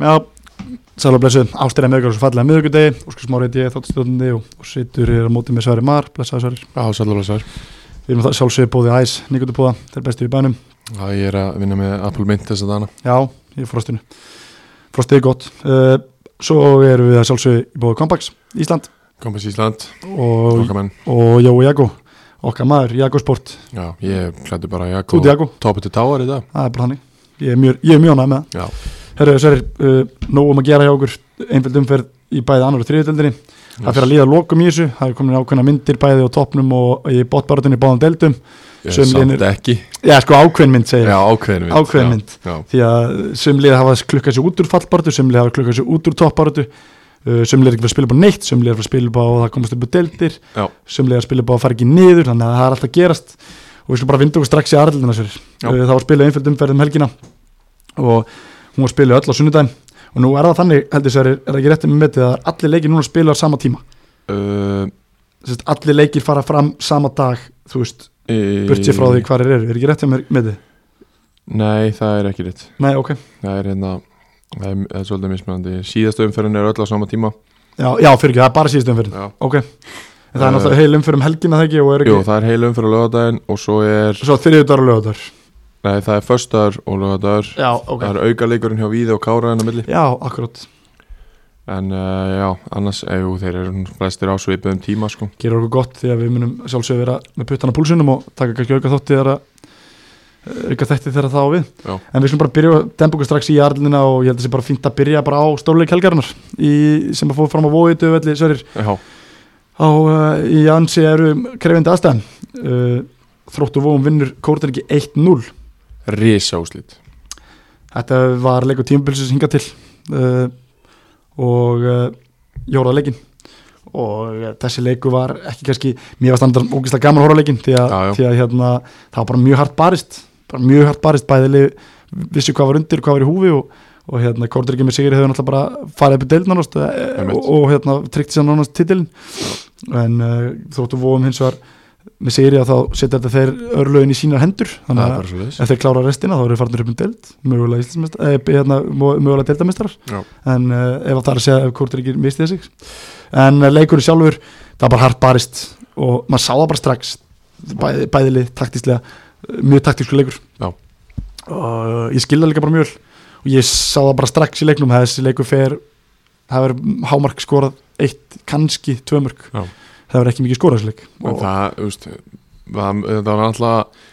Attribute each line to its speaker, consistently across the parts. Speaker 1: Já, sæl og blessu, ástæðan meðgjörður svo fallega miðugudegi, Óskar Smári heiti ég, þáttstjórnandi og, og sittur hér á móti með Sværi Mar, blessaði Sværi.
Speaker 2: Já, sælur og sær
Speaker 1: Við erum það sjálfsögur bóðið æs, nýgutupóða, þeir bestu í bænum.
Speaker 2: Já, ég er að vinna með Apple Mint þess að dana
Speaker 1: Já, ég er frostinu. Frostið er gott. Uh, svo erum við að sjálfsögur í bóðið Kompaks, Ísland
Speaker 2: Kompens Ísland,
Speaker 1: og,
Speaker 2: okkamenn
Speaker 1: og Jói Jago, okkar maður, Jago Sport,
Speaker 2: Já, ég klætti bara Jakko
Speaker 1: Kúti Jago,
Speaker 2: Topi til táar í dag
Speaker 1: það er bara þannig. Ég er mjög, ég er mjög ánægð með það.
Speaker 2: Já,
Speaker 1: Herru, Sværi, uh, nóg um að gera hjá okkur, einfjöld umferð í bæðið annar og þriðjöldinni. Það fyrir að líða lokum í þessu, það er komin ákveðna myndir bæði á topnum og í botbarutinni báðum deildum
Speaker 2: Ég
Speaker 1: sum
Speaker 2: er samt
Speaker 1: liðnir-
Speaker 2: ekki
Speaker 1: Já, sko ákveðn mynd segir
Speaker 2: Já,
Speaker 1: ég.
Speaker 2: ákveðin mynd
Speaker 1: Ákveðin
Speaker 2: Já,
Speaker 1: mynd.
Speaker 2: Já,
Speaker 1: Því að sumlið hafa klukkað sér út úr fallbarutu, sumlið hafa klukkað sér út úr topbarutu uh, Sumlið er ekki fyrir að spila upp á neitt, sumlið er fyrir að spila upp á að það komast upp á deildir
Speaker 2: Já.
Speaker 1: Sumlið er að spila upp á að fara ekki niður, þannig að það er alltaf að gerast Og við skulum bara vinda okkur strax í aðrildina sér
Speaker 2: Já.
Speaker 1: Það var spilað einfjöld umferð um helgina og hún var spilað öll á sunnudaginn Og nú er það þannig, heldur sér, er það ekki réttið með metið að allir leikir núna spilað á sama tíma
Speaker 2: Uh,
Speaker 1: Sest, allir leikir fara fram sama dag þú veist,
Speaker 2: í-
Speaker 1: burt sér frá því hvað er eru er ekki rétt hjá mér með þið?
Speaker 2: Nei, það er ekki rétt
Speaker 1: Nei, ok
Speaker 2: Það er hérna Það er, það er svolítið mismunandi Síðasta umferðin er öll á sama tíma
Speaker 1: Já, já fyrir ekki, það er bara síðust umfyrir
Speaker 2: Já.
Speaker 1: Ok, en það er
Speaker 2: Eh,
Speaker 1: náttúrulega heil umfyrir um helgina það ekki og er ekki
Speaker 2: Jú, það er heil umferð á lögadaginn Og svo er
Speaker 1: Svo þriðjudar og lögadar
Speaker 2: Nei, það er föstadur og lögadagur
Speaker 1: Já, ok
Speaker 2: Það er aukaleikurinn hjá Víði og Kára en á milli
Speaker 1: Já, akkurat
Speaker 2: En uh, já, annars, eh, jú, þeir eru nú flestir á svipuðum tíma sko
Speaker 1: Gerur okkur gott því að við munum sjálfsög vera með puttana púlsunum og taka kannski auka þótti þegar að eh, auka þætti þegar það á við
Speaker 2: Já.
Speaker 1: En við skulum bara byrja að dempa okkur strax í jarlina og ég held að það sé bara fínt að byrja bara á stóluleik helgarinnar í, sem að fóðu fram á vóið döfelli, Sörir
Speaker 2: Já,
Speaker 1: á, uh, í ansi eru krefindi aðstæðan uh, þróttu vóum vinnur kórtan 1-0
Speaker 2: risa úslit
Speaker 1: þetta var leikur tímabilsins hinga til uh, og uh, jóraða leikin og uh, þessi leiku var ekki kannski mér var standar ógislega gaman að horfa á leikin því að,
Speaker 2: Já, já.
Speaker 1: því að hérna, það var bara mjög hart barist bara mjög hart barist bæðileg vissi hvað var undir, hvað var í húfi og, og hérna, kórtan ekki með sigri hefur náttúrulega bara farið upp í deildin nánast, eh,
Speaker 2: Einmitt.
Speaker 1: og, og hérna, tryggti sér nánast titilin en uh, þróttu vóum hins vegar með sigri að þá setja þetta þeir örlögin í sínar hendur
Speaker 2: Það
Speaker 1: þannig
Speaker 2: er
Speaker 1: að
Speaker 2: bara svo leiðis
Speaker 1: ef þeir klára restina þá eru þeir farinir upp um deild mögulega, Íslandsmeist- eh, hérna, mö- mögulega deildamestrar
Speaker 2: Já.
Speaker 1: en uh, ef það er að segja ef Kortir ekki misti þessi en uh, leikurinn sjálfur, það var bara hart barist og maður sá það bara strax bæði, bæðilið, taktíslega eh, mjög taktísku leikur
Speaker 2: Já.
Speaker 1: og ég skilða líka bara mjög vel. og ég sá það bara strax í leiknum þessi leikur fer það verður hámark skorað eitt, kannski tvö mörg,
Speaker 2: Já.
Speaker 1: það verður ekki mikið skorað þessi leik
Speaker 2: En það, þú veist, það, það var alltaf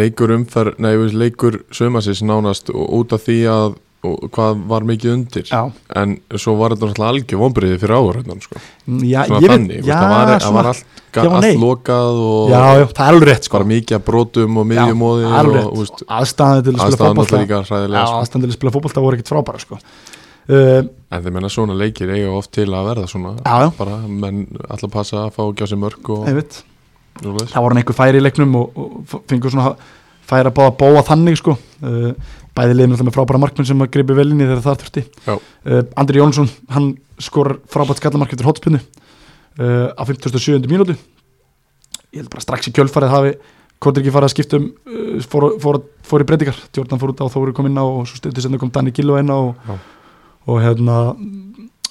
Speaker 2: leikur umferð, nei, þú veist, leikur sömasins nánast og út af því að og hvað var mikið undir
Speaker 1: já,
Speaker 2: en svo var þetta alltaf algjör vonbriði fyrir áhörðan sko.
Speaker 1: Mm, já,
Speaker 2: svona
Speaker 1: ég
Speaker 2: þannig, þú veist,
Speaker 1: já,
Speaker 2: það var, það
Speaker 1: svona-
Speaker 2: var allt,
Speaker 1: já og nei.
Speaker 2: allt lokað og
Speaker 1: já, já, það er alveg rétt sko
Speaker 2: bara mikið að brotum og miðjumóði
Speaker 1: Já, alveg
Speaker 2: og
Speaker 1: rétt.
Speaker 2: þú veist,
Speaker 1: aðstæðan til að spila
Speaker 2: aðstæðan alltaf
Speaker 1: fótbolta
Speaker 2: líka
Speaker 1: Já,
Speaker 2: hræðilega sko.
Speaker 1: aðstæðan til að spila fótbolta voru ekkert frábæra sko. uh,
Speaker 2: en þeir menna svona leikir eiga oft til að verða svona
Speaker 1: já, já,
Speaker 2: bara menn alltaf passa að fá ekki á sig mörg og,
Speaker 1: einmitt
Speaker 2: og leis.
Speaker 1: það voru einhver færi í leiknum og, og fengur svona færi að báða að bóa þannig sko. uh, bæði liðin alltaf með frábæra markmenn sem að gripi vel inn í þegar það þurfti
Speaker 2: Já.
Speaker 1: uh, Andri Jónsson, hann skorar frábært skallamark eftir hotspinnu uh, á 57. mínútu ég held bara strax í kjölfarið hafi Kortir ekki farið að skipta um uh, fór, fór, fór í breytingar, Jordan fór út á Þóru kom inn á og svo stundu senna kom Danni Gilva inn á og,
Speaker 2: Já.
Speaker 1: og hérna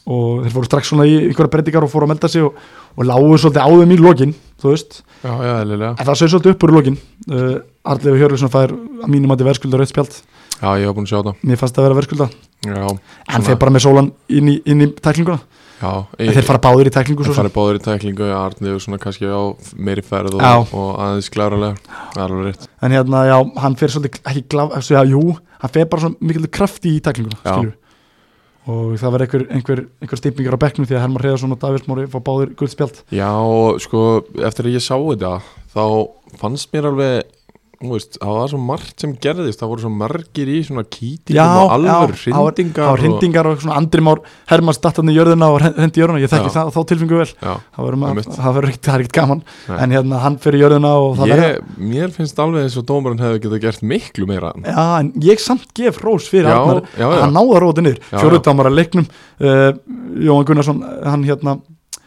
Speaker 1: og þeir fóru strax svona í einhverja breytingar og fóru að melda sig og, og lágu svolítið áðum í lokin, þú veist
Speaker 2: já, já, eðlilega
Speaker 1: En það sögur svolítið upp úr lokin uh, Arlefi Hjörlufsson fær að mínum að þetta verðskulda rautt spjald
Speaker 2: já, ég hef búin að sjá það
Speaker 1: Mér fannst það að vera verðskulda
Speaker 2: já,
Speaker 1: En
Speaker 2: Svona.
Speaker 1: þeir bara með sólan inn í, inn í tæklinguna
Speaker 2: já,
Speaker 1: En þeir fara báðir í tæklingu svo
Speaker 2: Það
Speaker 1: sem
Speaker 2: fari báður í tæklingu að Arniður svona kannski á meiri ferð
Speaker 1: Já.
Speaker 2: og, og aðeins kláralega Það er alveg rétt
Speaker 1: En hérna, já, hann fer svolítið ekki glaf þessu, já, Jú, hann fer bara svona mikil krafti í tæklinguna
Speaker 2: Já.
Speaker 1: skilurðu. Og það verður einhver, einhver, einhver steypingar á bekknum Því að Herman Hreðarsson og Davís Móri fá báðir guld spjald
Speaker 2: Já og sko eftir að ég sá þetta þá fannst mér alveg þú veist, það var svo margt sem gerðist það voru svo margir í svona kýtingum
Speaker 1: Já,
Speaker 2: og alveg
Speaker 1: já, það var- Það
Speaker 2: hrindingar
Speaker 1: var hrindingar og svona Andri Már Herman stattan í jörðina og hendi í jörðina Ég þekki
Speaker 2: Já.
Speaker 1: það, þá tilfingu vel
Speaker 2: Já,
Speaker 1: Það verður maður-
Speaker 2: Einmitt.
Speaker 1: það verður ekkert- það er ekkert gaman
Speaker 2: Nei.
Speaker 1: En hérna, hann fer í jörðina og það verður
Speaker 2: ég, mér finnst alveg eins og dómarinn hefði getað gert miklu meira
Speaker 1: Já, en ég samt gef rós fyrir
Speaker 2: Já,
Speaker 1: Arnar
Speaker 2: já,
Speaker 1: að
Speaker 2: já.
Speaker 1: hann náða róti niður
Speaker 2: Já,
Speaker 1: fjóruðdámar að leiknum uh, Jóhann Gunnarsson, Eh, hann hérna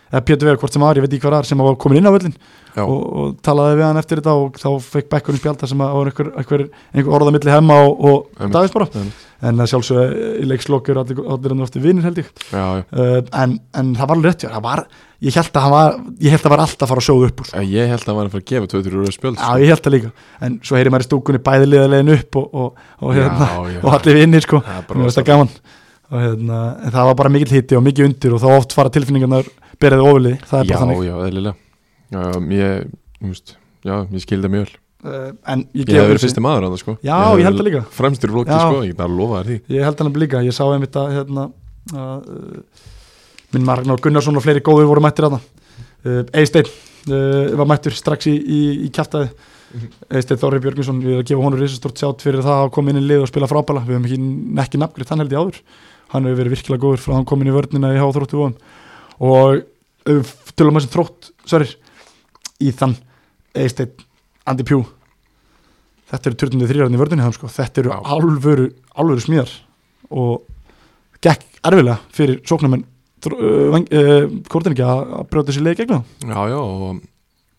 Speaker 1: eða Pétur Vegar hvort sem var, ég veit ekki hvað var sem var komin inn á völlin
Speaker 2: Já.
Speaker 1: og, og talaði við hann eftir þetta og þá fekk bekkurinn spjálta sem að það var einhver, einhver, einhver orða milli hemma og, og
Speaker 2: Einmitt.
Speaker 1: Davís bara
Speaker 2: Einmitt.
Speaker 1: en að sjálfsögðu í leikslokkur allir, allir hann ofti vinnir held ég
Speaker 2: já, já.
Speaker 1: uh, en, en það var alveg rétt hjá þér, það var, ég held að hann var ég held að var alltaf að fara að sjóða upp úr sko.
Speaker 2: En Ég held að hann var að fara að gefa 2-3 rauð spjöld sko.
Speaker 1: Já, ég held það líka, en svo heyri maður í stúkunni bæði liðalegin upp og, og, og, hérna,
Speaker 2: já, já.
Speaker 1: og allir vinnir sko
Speaker 2: Það er bara
Speaker 1: Mér finnst það gaman og, hérna, en það var bara mikill hitti og mikið undir og þá oft fara tilfinningarnar beraði ofilið það er
Speaker 2: Já,
Speaker 1: bara þannig
Speaker 2: já, eðlilega Já, ég, þú veist, já, ég skildi mjög vel
Speaker 1: uh, en ég,
Speaker 2: Ég
Speaker 1: gef
Speaker 2: hef verið
Speaker 1: þessu-
Speaker 2: fyrsti maður á það sko
Speaker 1: Já, ég held það líka.
Speaker 2: Fremstur flóki
Speaker 1: Já.
Speaker 2: sko, ég get að lofa þér því
Speaker 1: ég held hann líka, ég sá einmitt að hérna, að, uh, minn Magnar Gunnarsson og fleiri góðir voru mættir að það uh, Eisteinn uh, var mættur strax í, í, í kjæftæði Eisteinn Þorri Björgvinsson, ég er að gefa honum risastort sjátt fyrir það að koma inn í lið og spila frábæla við hefum ekki, ekki nafngrið, hann held ég áður hann hefur verið virkilega góður frá að hann kom inn í vörnina í háþróttu vóðum og uh, tölum þessum þrótt, Sörir Íþann, Eisteinn Andi Pjú þetta eru 23 ræðin í vörðinni hann sko þetta eru
Speaker 2: Já.
Speaker 1: alvöru, alvöru smíðar og gekk erfilega fyrir uh, sóknumenn kórtinningi að að brjóta sér leið gegna þá.
Speaker 2: Já, já, og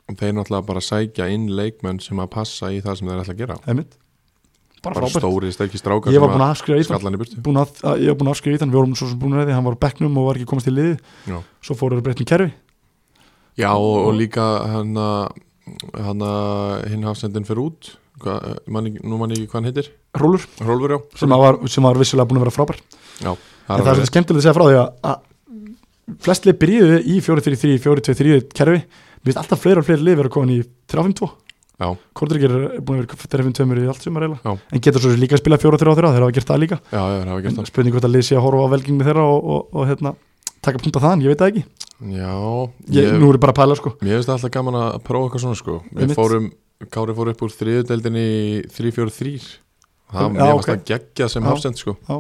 Speaker 2: og þeir náttúrulega bara sækja inn leikmenn sem að passa í það sem þeir ætla að gera
Speaker 1: einmitt, bara
Speaker 2: Bara
Speaker 1: frábært
Speaker 2: stóri, stekki strákar
Speaker 1: ég var búinn að afskrifa Íþann
Speaker 2: skallan í burtu
Speaker 1: búin að, að, ég var búinn að afskrifa Íþann, við vorum svo sem búin að því hann var á bekknum og var ekki komast í liði
Speaker 2: Já.
Speaker 1: svo fóruður breytin um kerfi
Speaker 2: Já, og, og líka hann að hann að hinn hafsendin fyrir út Hva, man, ekki- Nú man ég ekki hvað hann heitir
Speaker 1: rólur
Speaker 2: Rolfur, já
Speaker 1: sem að var, sem að var vissulega búin að vera frábær en
Speaker 2: Já, það
Speaker 1: það er svo skemmtilega að segja frá því að, að flestlið byrjuðu í 4-3-3, 4-2-3 kerfi, við veist alltaf fleira og fleiri lið vera komin í 3-5-2
Speaker 2: Já,
Speaker 1: Kortrygger er búin að vera 3-5-2 í allt sumar eiginlega,
Speaker 2: Já.
Speaker 1: en getur svo sem líka að spila 4-3-3, þeir hafa gert það líka
Speaker 2: já, já, það hafa gert
Speaker 1: en spurning hvort að lið sé að horfa á velgengni þeirra og, og, og hérna, taka punta þaðan, ég veit það ekki
Speaker 2: það Já,
Speaker 1: ég, nú er ég bara að pæla sko
Speaker 2: Mér finnst alltaf gaman að prófa eitthvað svona sko Við
Speaker 1: Einmitt.
Speaker 2: fórum, Kári fór upp úr þriðudeldinni í 3-4-3 Það,
Speaker 1: Já,
Speaker 2: mér finnst
Speaker 1: ok.
Speaker 2: það geggja sem
Speaker 1: Já,
Speaker 2: hafsend sko
Speaker 1: já.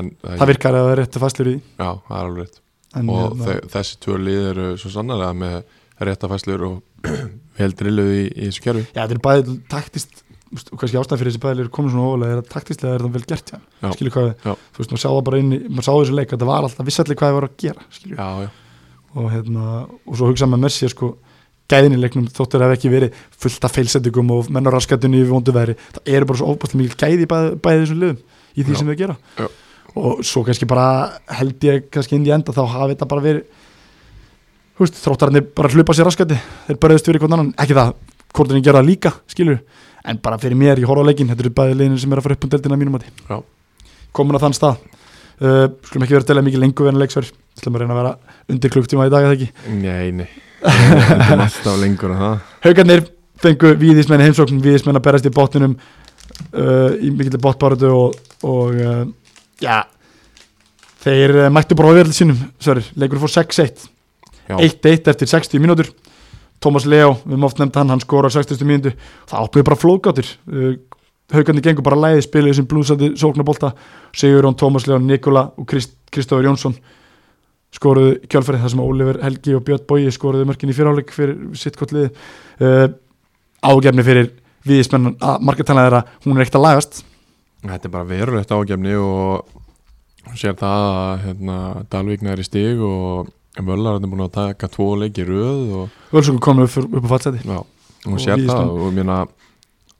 Speaker 2: en, það,
Speaker 1: það virkar að það er réttu fæslur í því.
Speaker 2: Já, það er alveg rétt
Speaker 1: en,
Speaker 2: Og
Speaker 1: hérna,
Speaker 2: þe þessi tvö lið eru svo sannarlega með réttafæslur og vel drilluð í, í þessu kerfi
Speaker 1: já, þetta er bæði taktist þú veist, og kannski ástæðan fyrir þessi bæðilegur komin svona óvalega er að taktislega er það vel gert hjá
Speaker 2: Já.
Speaker 1: hann skilur hvað,
Speaker 2: Já.
Speaker 1: þú veist, maður sá það bara inn í maður sá þessu leik að það var alltaf vissalli hvað það var að gera skilur,
Speaker 2: Já, já,
Speaker 1: og hérna, og svo hugsa maður með sér sko gæðin í leiknum þóttur hafi ekki verið fullt af feilsendingum og menn á raskatunni í vondu veðri, það eru bara svo ofbæðslega mikil gæði í bæði, bæði þessum liðum í því
Speaker 2: Já.
Speaker 1: sem þau gera
Speaker 2: Já.
Speaker 1: og svo kannski bara held ég kannski inn í enda þá hafi þetta bara verið húst, þróttararnir bara hlupa sér raskati þeir börðist fyrir einhvern annan, ekki það hvort þeir gera það líka, skilur en bara fyrir mér, ég horfa á leikin, þetta eru bæði liðin sem er að fara upp um deildina að mínum
Speaker 2: Já.
Speaker 1: mati komin að þann stað uh, skulum ekki vera að dela mikið lengur en leiksverð, ætlum að reyna að vera undir klukktíma í dag að það ekki
Speaker 2: nei, nei Það er alltaf lengur en það
Speaker 1: Haukarnir fengu víðismenn í heimsókn víðismenn að berast í botninum uh, í mikill botbáratu og, og uh, já þeir uh, mættu bara á verðl sínum Sverrir, leikur fór 6-1
Speaker 2: Já,
Speaker 1: 1-1 eftir 60 mínútur Tómas Leo, við höfum oft nefnd hann, hann skorar 60 mínútu það opnuði bara flóðgáttir uh, haugarnir gengur bara læði spilið þessum blúsandi sóknabólta, Sigurjón, Tómas Leo Nikola og Krist, Kristofur Jónsson skoruðu í kjölfærið þar sem Oliver Helgi og Björn Bói skoruðu mörkin í fyrirháleik fyrir sitt gott liði uh, ágefni fyrir viðismennan að markartalega þeirra, hún er ekkert að lagast
Speaker 2: Þetta er bara verulegt ágefni og þú sér það að hérna, Dalvíkna er í stig og Völlar er búin að taka tvo leiki í röð og
Speaker 1: Völsungur komið upp, upp á fallseti
Speaker 2: Já,
Speaker 1: Og
Speaker 2: og sér
Speaker 1: Víðismenn.
Speaker 2: það og ég meina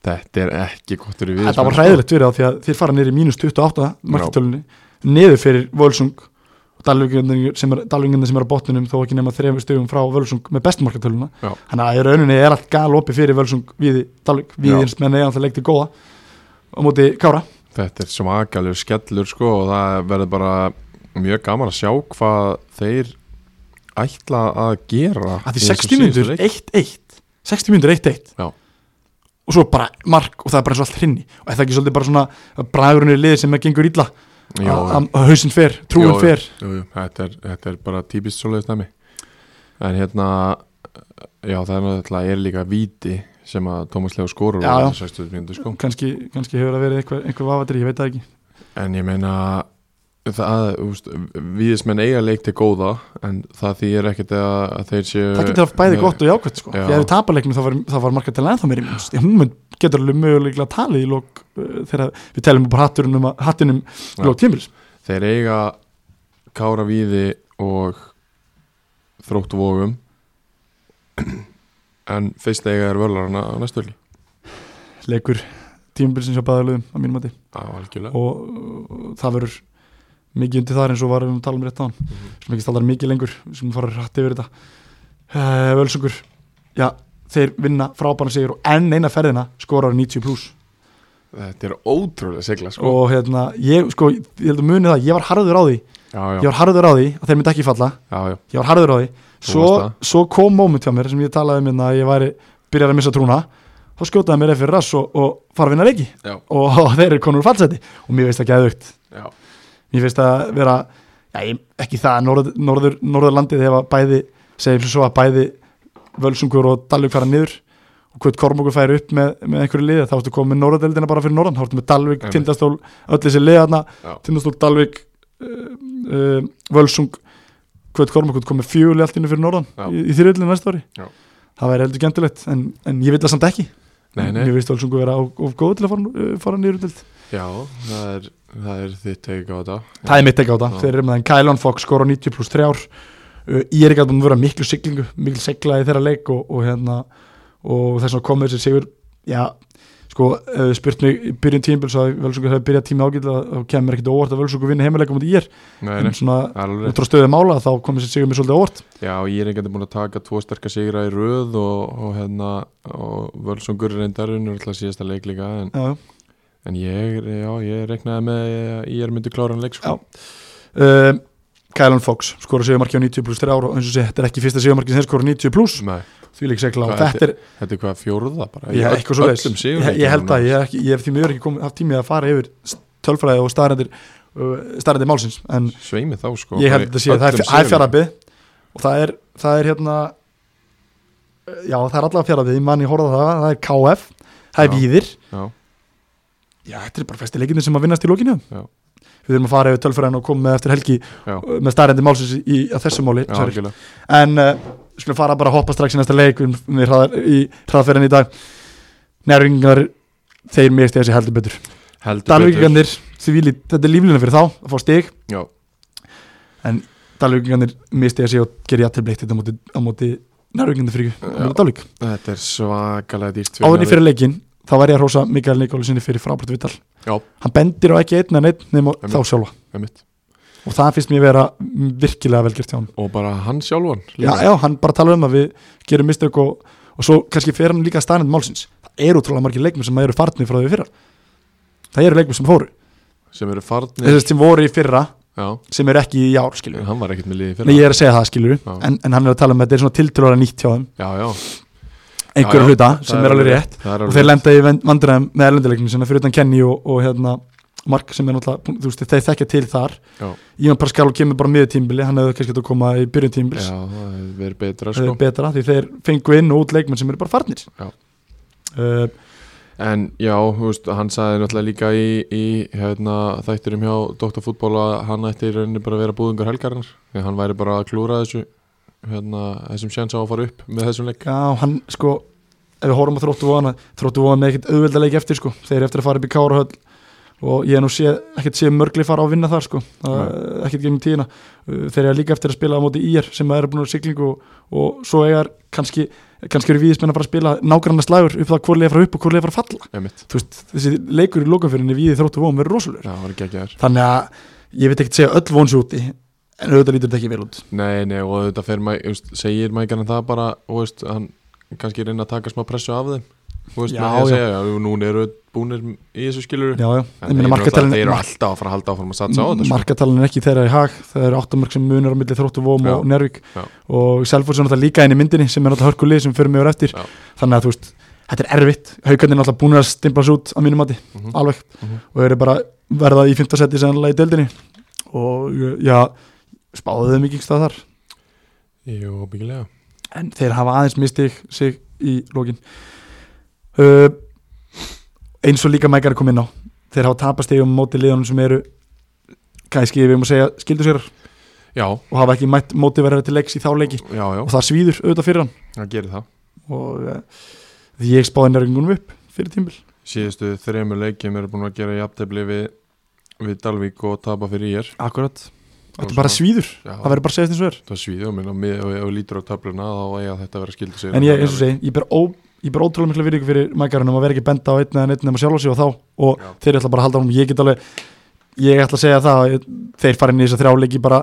Speaker 2: þetta er ekki gott fyrir sko. við
Speaker 1: þetta var hræðilegt fyrir þá því að þeir fara niður í mínus 28 markartölunni, niður fyrir Völsung og Dalvingarnir sem, er- Dalvíkingarnir sem er á botninum þó ekki nema þrefum stugum frá Völsung með bestu markartöluna
Speaker 2: Já.
Speaker 1: þannig að í rauninni er allt gal opið fyrir Völsung viði Dalvik,
Speaker 2: Já.
Speaker 1: viðins menn er alltaf leikt í góða á móti Kára
Speaker 2: Þetta er svakalur skellur sko og það verður bara mjög gaman að sjá hvað þeir ætla að gera
Speaker 1: að því
Speaker 2: í þessum
Speaker 1: 60
Speaker 2: um síðustu
Speaker 1: mínútur
Speaker 2: leik.
Speaker 1: 1-1 60 mínútur 1-1
Speaker 2: Já.
Speaker 1: og svo bara mark og það er bara eins og allt hrinni og er það ekki svolítið bara svona bræðurinn í liði sem að gengur illa
Speaker 2: Jú,
Speaker 1: að að hausinn fer, trúin
Speaker 2: Jú,
Speaker 1: fer
Speaker 2: jú, jú, þetta, er, þetta er bara típist svoleiðist dæmi en hérna já það er náttúrulega er líka víti sem að Tómas Leo skorur
Speaker 1: Já,
Speaker 2: á
Speaker 1: já.
Speaker 2: þessum 60 mínútur sko
Speaker 1: kannski, kannski hefur það verið einhver, einhver vafatri, ég veit það ekki
Speaker 2: En ég meina það, úst, viðismenn eiga leik til góða en það þýðir ekkert að, að þeir séu
Speaker 1: það getur haft bæði gott og jákvæmt sko.
Speaker 2: Eh, Já.
Speaker 1: því að við tapaleiknum þá var, þá var marka til ennþá meiri mínust því hún mun, getur alveg möguleiklega talið í lók uh, þegar við telum upp um hattunum, hattunum
Speaker 2: Já.
Speaker 1: lók tímils
Speaker 2: þeir eiga kára víði og þróttu vógum en fyrst eiga er vörlarna á næstu helgi
Speaker 1: leikur tímabilsins hjá bæðalöðum að mínum mati
Speaker 2: á algjörlega
Speaker 1: og uh, það verður mikið undir þar eins og varum að tala um rétt á hann
Speaker 2: Mhm.
Speaker 1: sem ekki staldar mikið lengur sem fara rætt yfir þetta uh, Völsungur já, þeir vinna frábæna sigur og enn eina ferðina skorar 90 pluss
Speaker 2: þetta er ótrúlega segla sko
Speaker 1: og hérna, ég sko ég held að muni það, ég var harður á því
Speaker 2: já,
Speaker 1: ég
Speaker 2: já,
Speaker 1: var harður á því að þeir myndi ekki falla
Speaker 2: já, já,
Speaker 1: ég var harður á því svo,
Speaker 2: varst það.
Speaker 1: svo kom moment hjá mér sem ég talaði um hérna að ég væri byrjar að missa trúna þá skjótaði mér eftir rass og, og fara að vinna leiki
Speaker 2: Já.
Speaker 1: og, og þeir eru konur fallseti og mér veist það geðugt
Speaker 2: já.
Speaker 1: mér veist að vera já, ég, ekki það að norður, norður, norðurlandið hefa bæði segjum svo að bæði völsungur og Dalvik fara niður og hvort Kormokur færi upp með, með einhverju liða þá ertu komið með norðurdeldina bara fyrir norðan þá ertu með Dalvik,
Speaker 2: Einmitt.
Speaker 1: Tindastól, öll þessi liðarna
Speaker 2: Já.
Speaker 1: Tindastól, Dalvik uh, uh, Völsung hvort Kormokur komið fjöguleg allt innu fyrir norðan
Speaker 2: Já.
Speaker 1: í, í þyrjöldinu næsta ári
Speaker 2: Já.
Speaker 1: það væri heldur gentilegt en, en ég vil það samt ekki
Speaker 2: Nei, nei.
Speaker 1: ég veist Völsungur vera of, of góð til að fara, uh, fara niður um deild
Speaker 2: já það, er, það er þitt teika á þetta
Speaker 1: Það er mitt ekki á það,
Speaker 2: Já.
Speaker 1: þeir eru með þann Kælon Fox skora 90 pluss 3 ár uh, Ég er ekki að búin að vera miklu siglingu miklu segla í þeirra leik og, og hérna og þess að komið þessi sigur já, sko, uh, spurt mig í byrjun tímbil svo að Völsungur hefur byrjað tími ágætla og kemur ekkit á óvart að Völsungur vinna heimalega mútið ég
Speaker 2: nei,
Speaker 1: er
Speaker 2: nei,
Speaker 1: en svona,
Speaker 2: það er alveg
Speaker 1: út frá stöðu mála þá komið þessi sigur mér svolítið á óvart
Speaker 2: Já, ég er einhvern veginn búin að taka tvo sterkar sigra í röð og, og hérna og völsungur reyndarinn er alltaf síðasta leik líka en,
Speaker 1: já, já.
Speaker 2: en ég, já, ég reiknaði með að ég er myndi klára hann leik sko.
Speaker 1: Uh, Kælon Fox skora sigumarki á 90 pluss 3 ár og eins og sé, þetta er ekki fyrsta sigumarki sem þeir skora 90 pluss
Speaker 2: Nei,
Speaker 1: því lík segla og
Speaker 2: Mm. Hvað,
Speaker 1: þetta er
Speaker 2: þetta er hvað fjóruða bara
Speaker 1: Já,
Speaker 2: Í
Speaker 1: eitthvað svo
Speaker 2: öllum hérna sigur
Speaker 1: Ég, ég held að ég, hef ekki, ég hef því miður ekki komið, haft tími að fara yfir s- tölfræði og staðrendir uh, staðrendir málsins, en
Speaker 2: sveimi þá sko
Speaker 1: ég held að þetta sé að það er- það er fjarafið og það er, það er hérna uh, já, það er allavega fjarafið ég mann ég horfði á það, það er KF það er
Speaker 2: Já.
Speaker 1: Víðir,
Speaker 2: Já,
Speaker 1: já, þetta er bara festi leikinni sem að vinnast í lókinu
Speaker 2: Já.
Speaker 1: við þurfum að fara yfir tölfræðin og koma með eftir helgi
Speaker 2: Já.
Speaker 1: uh, með staðrendir málsins í, í, að þessu máli
Speaker 2: já,
Speaker 1: sorry.
Speaker 2: algjörlega.
Speaker 1: en uh, skulum fara bara að hoppa strax í næsta leik við við hraðar, í hraðferðin í dag nærvingar þeir mér stegið sér heldur betur
Speaker 2: heldur betur
Speaker 1: Dalvíkingarnir, þvílít, þetta er líflina fyrir þá að fá stig
Speaker 2: Já,
Speaker 1: en Dalvíkingarnir mistið að sig og gerir jættirbleikt þetta hérna á móti, á móti nærvíkingarnir fyrir ykkur, á móti
Speaker 2: Já.
Speaker 1: Dalvík
Speaker 2: þetta er svakalega dýrt
Speaker 1: áðurinn fyrir leikin, þá var ég að hrósa Mikael Nikólusinni fyrir frábært vital
Speaker 2: Já.
Speaker 1: hann bendir á ekki einn en einn nema
Speaker 2: Einmitt.
Speaker 1: þá sjálfa
Speaker 2: leikin
Speaker 1: og það finnst mér vera virkilega velgjört hjá hann
Speaker 2: Og bara hann sjálfan
Speaker 1: já,
Speaker 2: líka.
Speaker 1: já, hann bara talar um að við gerum mistök og, og svo kannski fer hann líka að staðnend málsins það eru útrúlega margir leikmenn sem eru farnir frá því í fyrra það eru leikmenn sem fóru
Speaker 2: sem eru farnir
Speaker 1: þessast sem voru í fyrra
Speaker 2: Já,
Speaker 1: sem eru ekki í ár skilju
Speaker 2: hann var ekkert með liði
Speaker 1: Nei,
Speaker 2: fyrir
Speaker 1: ég er að segja það, skilur
Speaker 2: Já.
Speaker 1: en, en hann er að tala um að þetta er svona tiltrúlega nýtt hjá þeim
Speaker 2: Já, já,
Speaker 1: einhverju
Speaker 2: Já, já,
Speaker 1: hluta
Speaker 2: það
Speaker 1: sem er alveg rétt
Speaker 2: það er
Speaker 1: og
Speaker 2: alveg
Speaker 1: þeir lenda í vandræðum með erlendileiknum sinna fyrir utan Kenny og, og hérna Mark sem er náttúrulega, bú- þú veist, þeir þekkja til þar
Speaker 2: Já.
Speaker 1: Ívan Pascal kemur bara miður tímbili hann hefði kannski getað að koma í byrjun tímbils
Speaker 2: Já, það hefur verið betra
Speaker 1: það
Speaker 2: sko
Speaker 1: er betra því þeir fengu inn og út leikmenn sem eru bara farnir
Speaker 2: Já.
Speaker 1: Uh,
Speaker 2: En já, þú veist, hann sagði náttúrulega líka í, í hérna, þætturum hjá Dr. Fútból að hann ætti í rauninni bara að vera búðungar helgarinnar því hann væri bara að klúra þessu hérna, þessum sjans á að fara upp með þessum leik
Speaker 1: já, hann sko ef við horfum að þróttu vona þróttu vona með ekkert auðvelda leik eftir sko þeir eru eftir að fara upp í Kárahöll og ég hef nú sé, ekkert séð mörgli fara á að vinna þar sko, Það- ekkert gegnum tíðina Uh, þeir eru líka eftir að spila á móti IR sem eru búin að vera siglingu og, og svo eigar kannski, kannski eru víðismenn að fara að spila nágranna slægur upp það hvorlega fara upp og hvorlega fara að falla
Speaker 2: Einmitt.
Speaker 1: Þú veist, þessi leikur í lokanfyrinni víði þróttu vóum verður rosalur
Speaker 2: Já, það var ekki ekki þær
Speaker 1: þannig að ég veit ekkert segja öll vóns úti en auðvitað lítur þetta ekki vel út
Speaker 2: Nei, nei, og þetta fer maður, þú veist, segir maður ekki hann það bara, þú veist, hann kannski reyna að taka smá pressu af þeim Þú veist,
Speaker 1: Já,
Speaker 2: maður
Speaker 1: já.
Speaker 2: segja, já, núna eru þeir búnir í þessu skiluru
Speaker 1: já, já, ég meina
Speaker 2: En þeir eru
Speaker 1: markatalinn
Speaker 2: alltaf að fara að halda áfram að satsa á þetta sko.
Speaker 1: markatalinn er ekki þeirra í hag það eru áttamörk sem munur á milli þróttu vóm
Speaker 2: Já.
Speaker 1: og Nervík
Speaker 2: Já.
Speaker 1: og Selfoss er náttúrulega líka inn í myndinni sem er náttúrulega hörkulið sem fyrir mig úr eftir
Speaker 2: Já.
Speaker 1: þannig að þú veist, þetta er erfitt haugarnir er náttúrulega búin að stimpla svo út á mínum mati
Speaker 2: Mhm.
Speaker 1: alveg
Speaker 2: Mhm.
Speaker 1: og eru bara verða í fymta seti sennilega í deildinni og já, spáðu þeim ekki stað þar
Speaker 2: Jú, byggilega
Speaker 1: en þeir hafa aðeins mistið sig í lókin uh, eins og líka mækari kom inn á þeir hafa tapast tegum móti liðunum sem eru kannski við um að segja skildu sér
Speaker 2: Já,
Speaker 1: og hafa ekki mætt móti verið til leiks í þá leiki
Speaker 2: já, já,
Speaker 1: og það svíður auðvitað fyrir hann
Speaker 2: það gerir það
Speaker 1: og uh, því ég spáði nörgunum upp fyrir tímbil
Speaker 2: síðustu þremur leikjum eru búin að gera jafntefli við, við Dalvík og tapa fyrir ég
Speaker 1: Akkurat Þetta er bara svíður,
Speaker 2: Já,
Speaker 1: það verður bara að segja þess eins og er
Speaker 2: það svíður minn og mið- ef við lítur á töfluna þá eiga þetta að vera skildu sig
Speaker 1: En ég, eins og segi, ég ber, ó, ég ber ótrúlega miklu virðingu fyrir mækarunum að vera ekki að benda á einn eða einn nema sjálf á sig og þá og
Speaker 2: Já.
Speaker 1: þeir ætla bara að halda honum, ég get alveg ég ætla að segja það, að ég- þeir fara inn í þessa þrjá leiki bara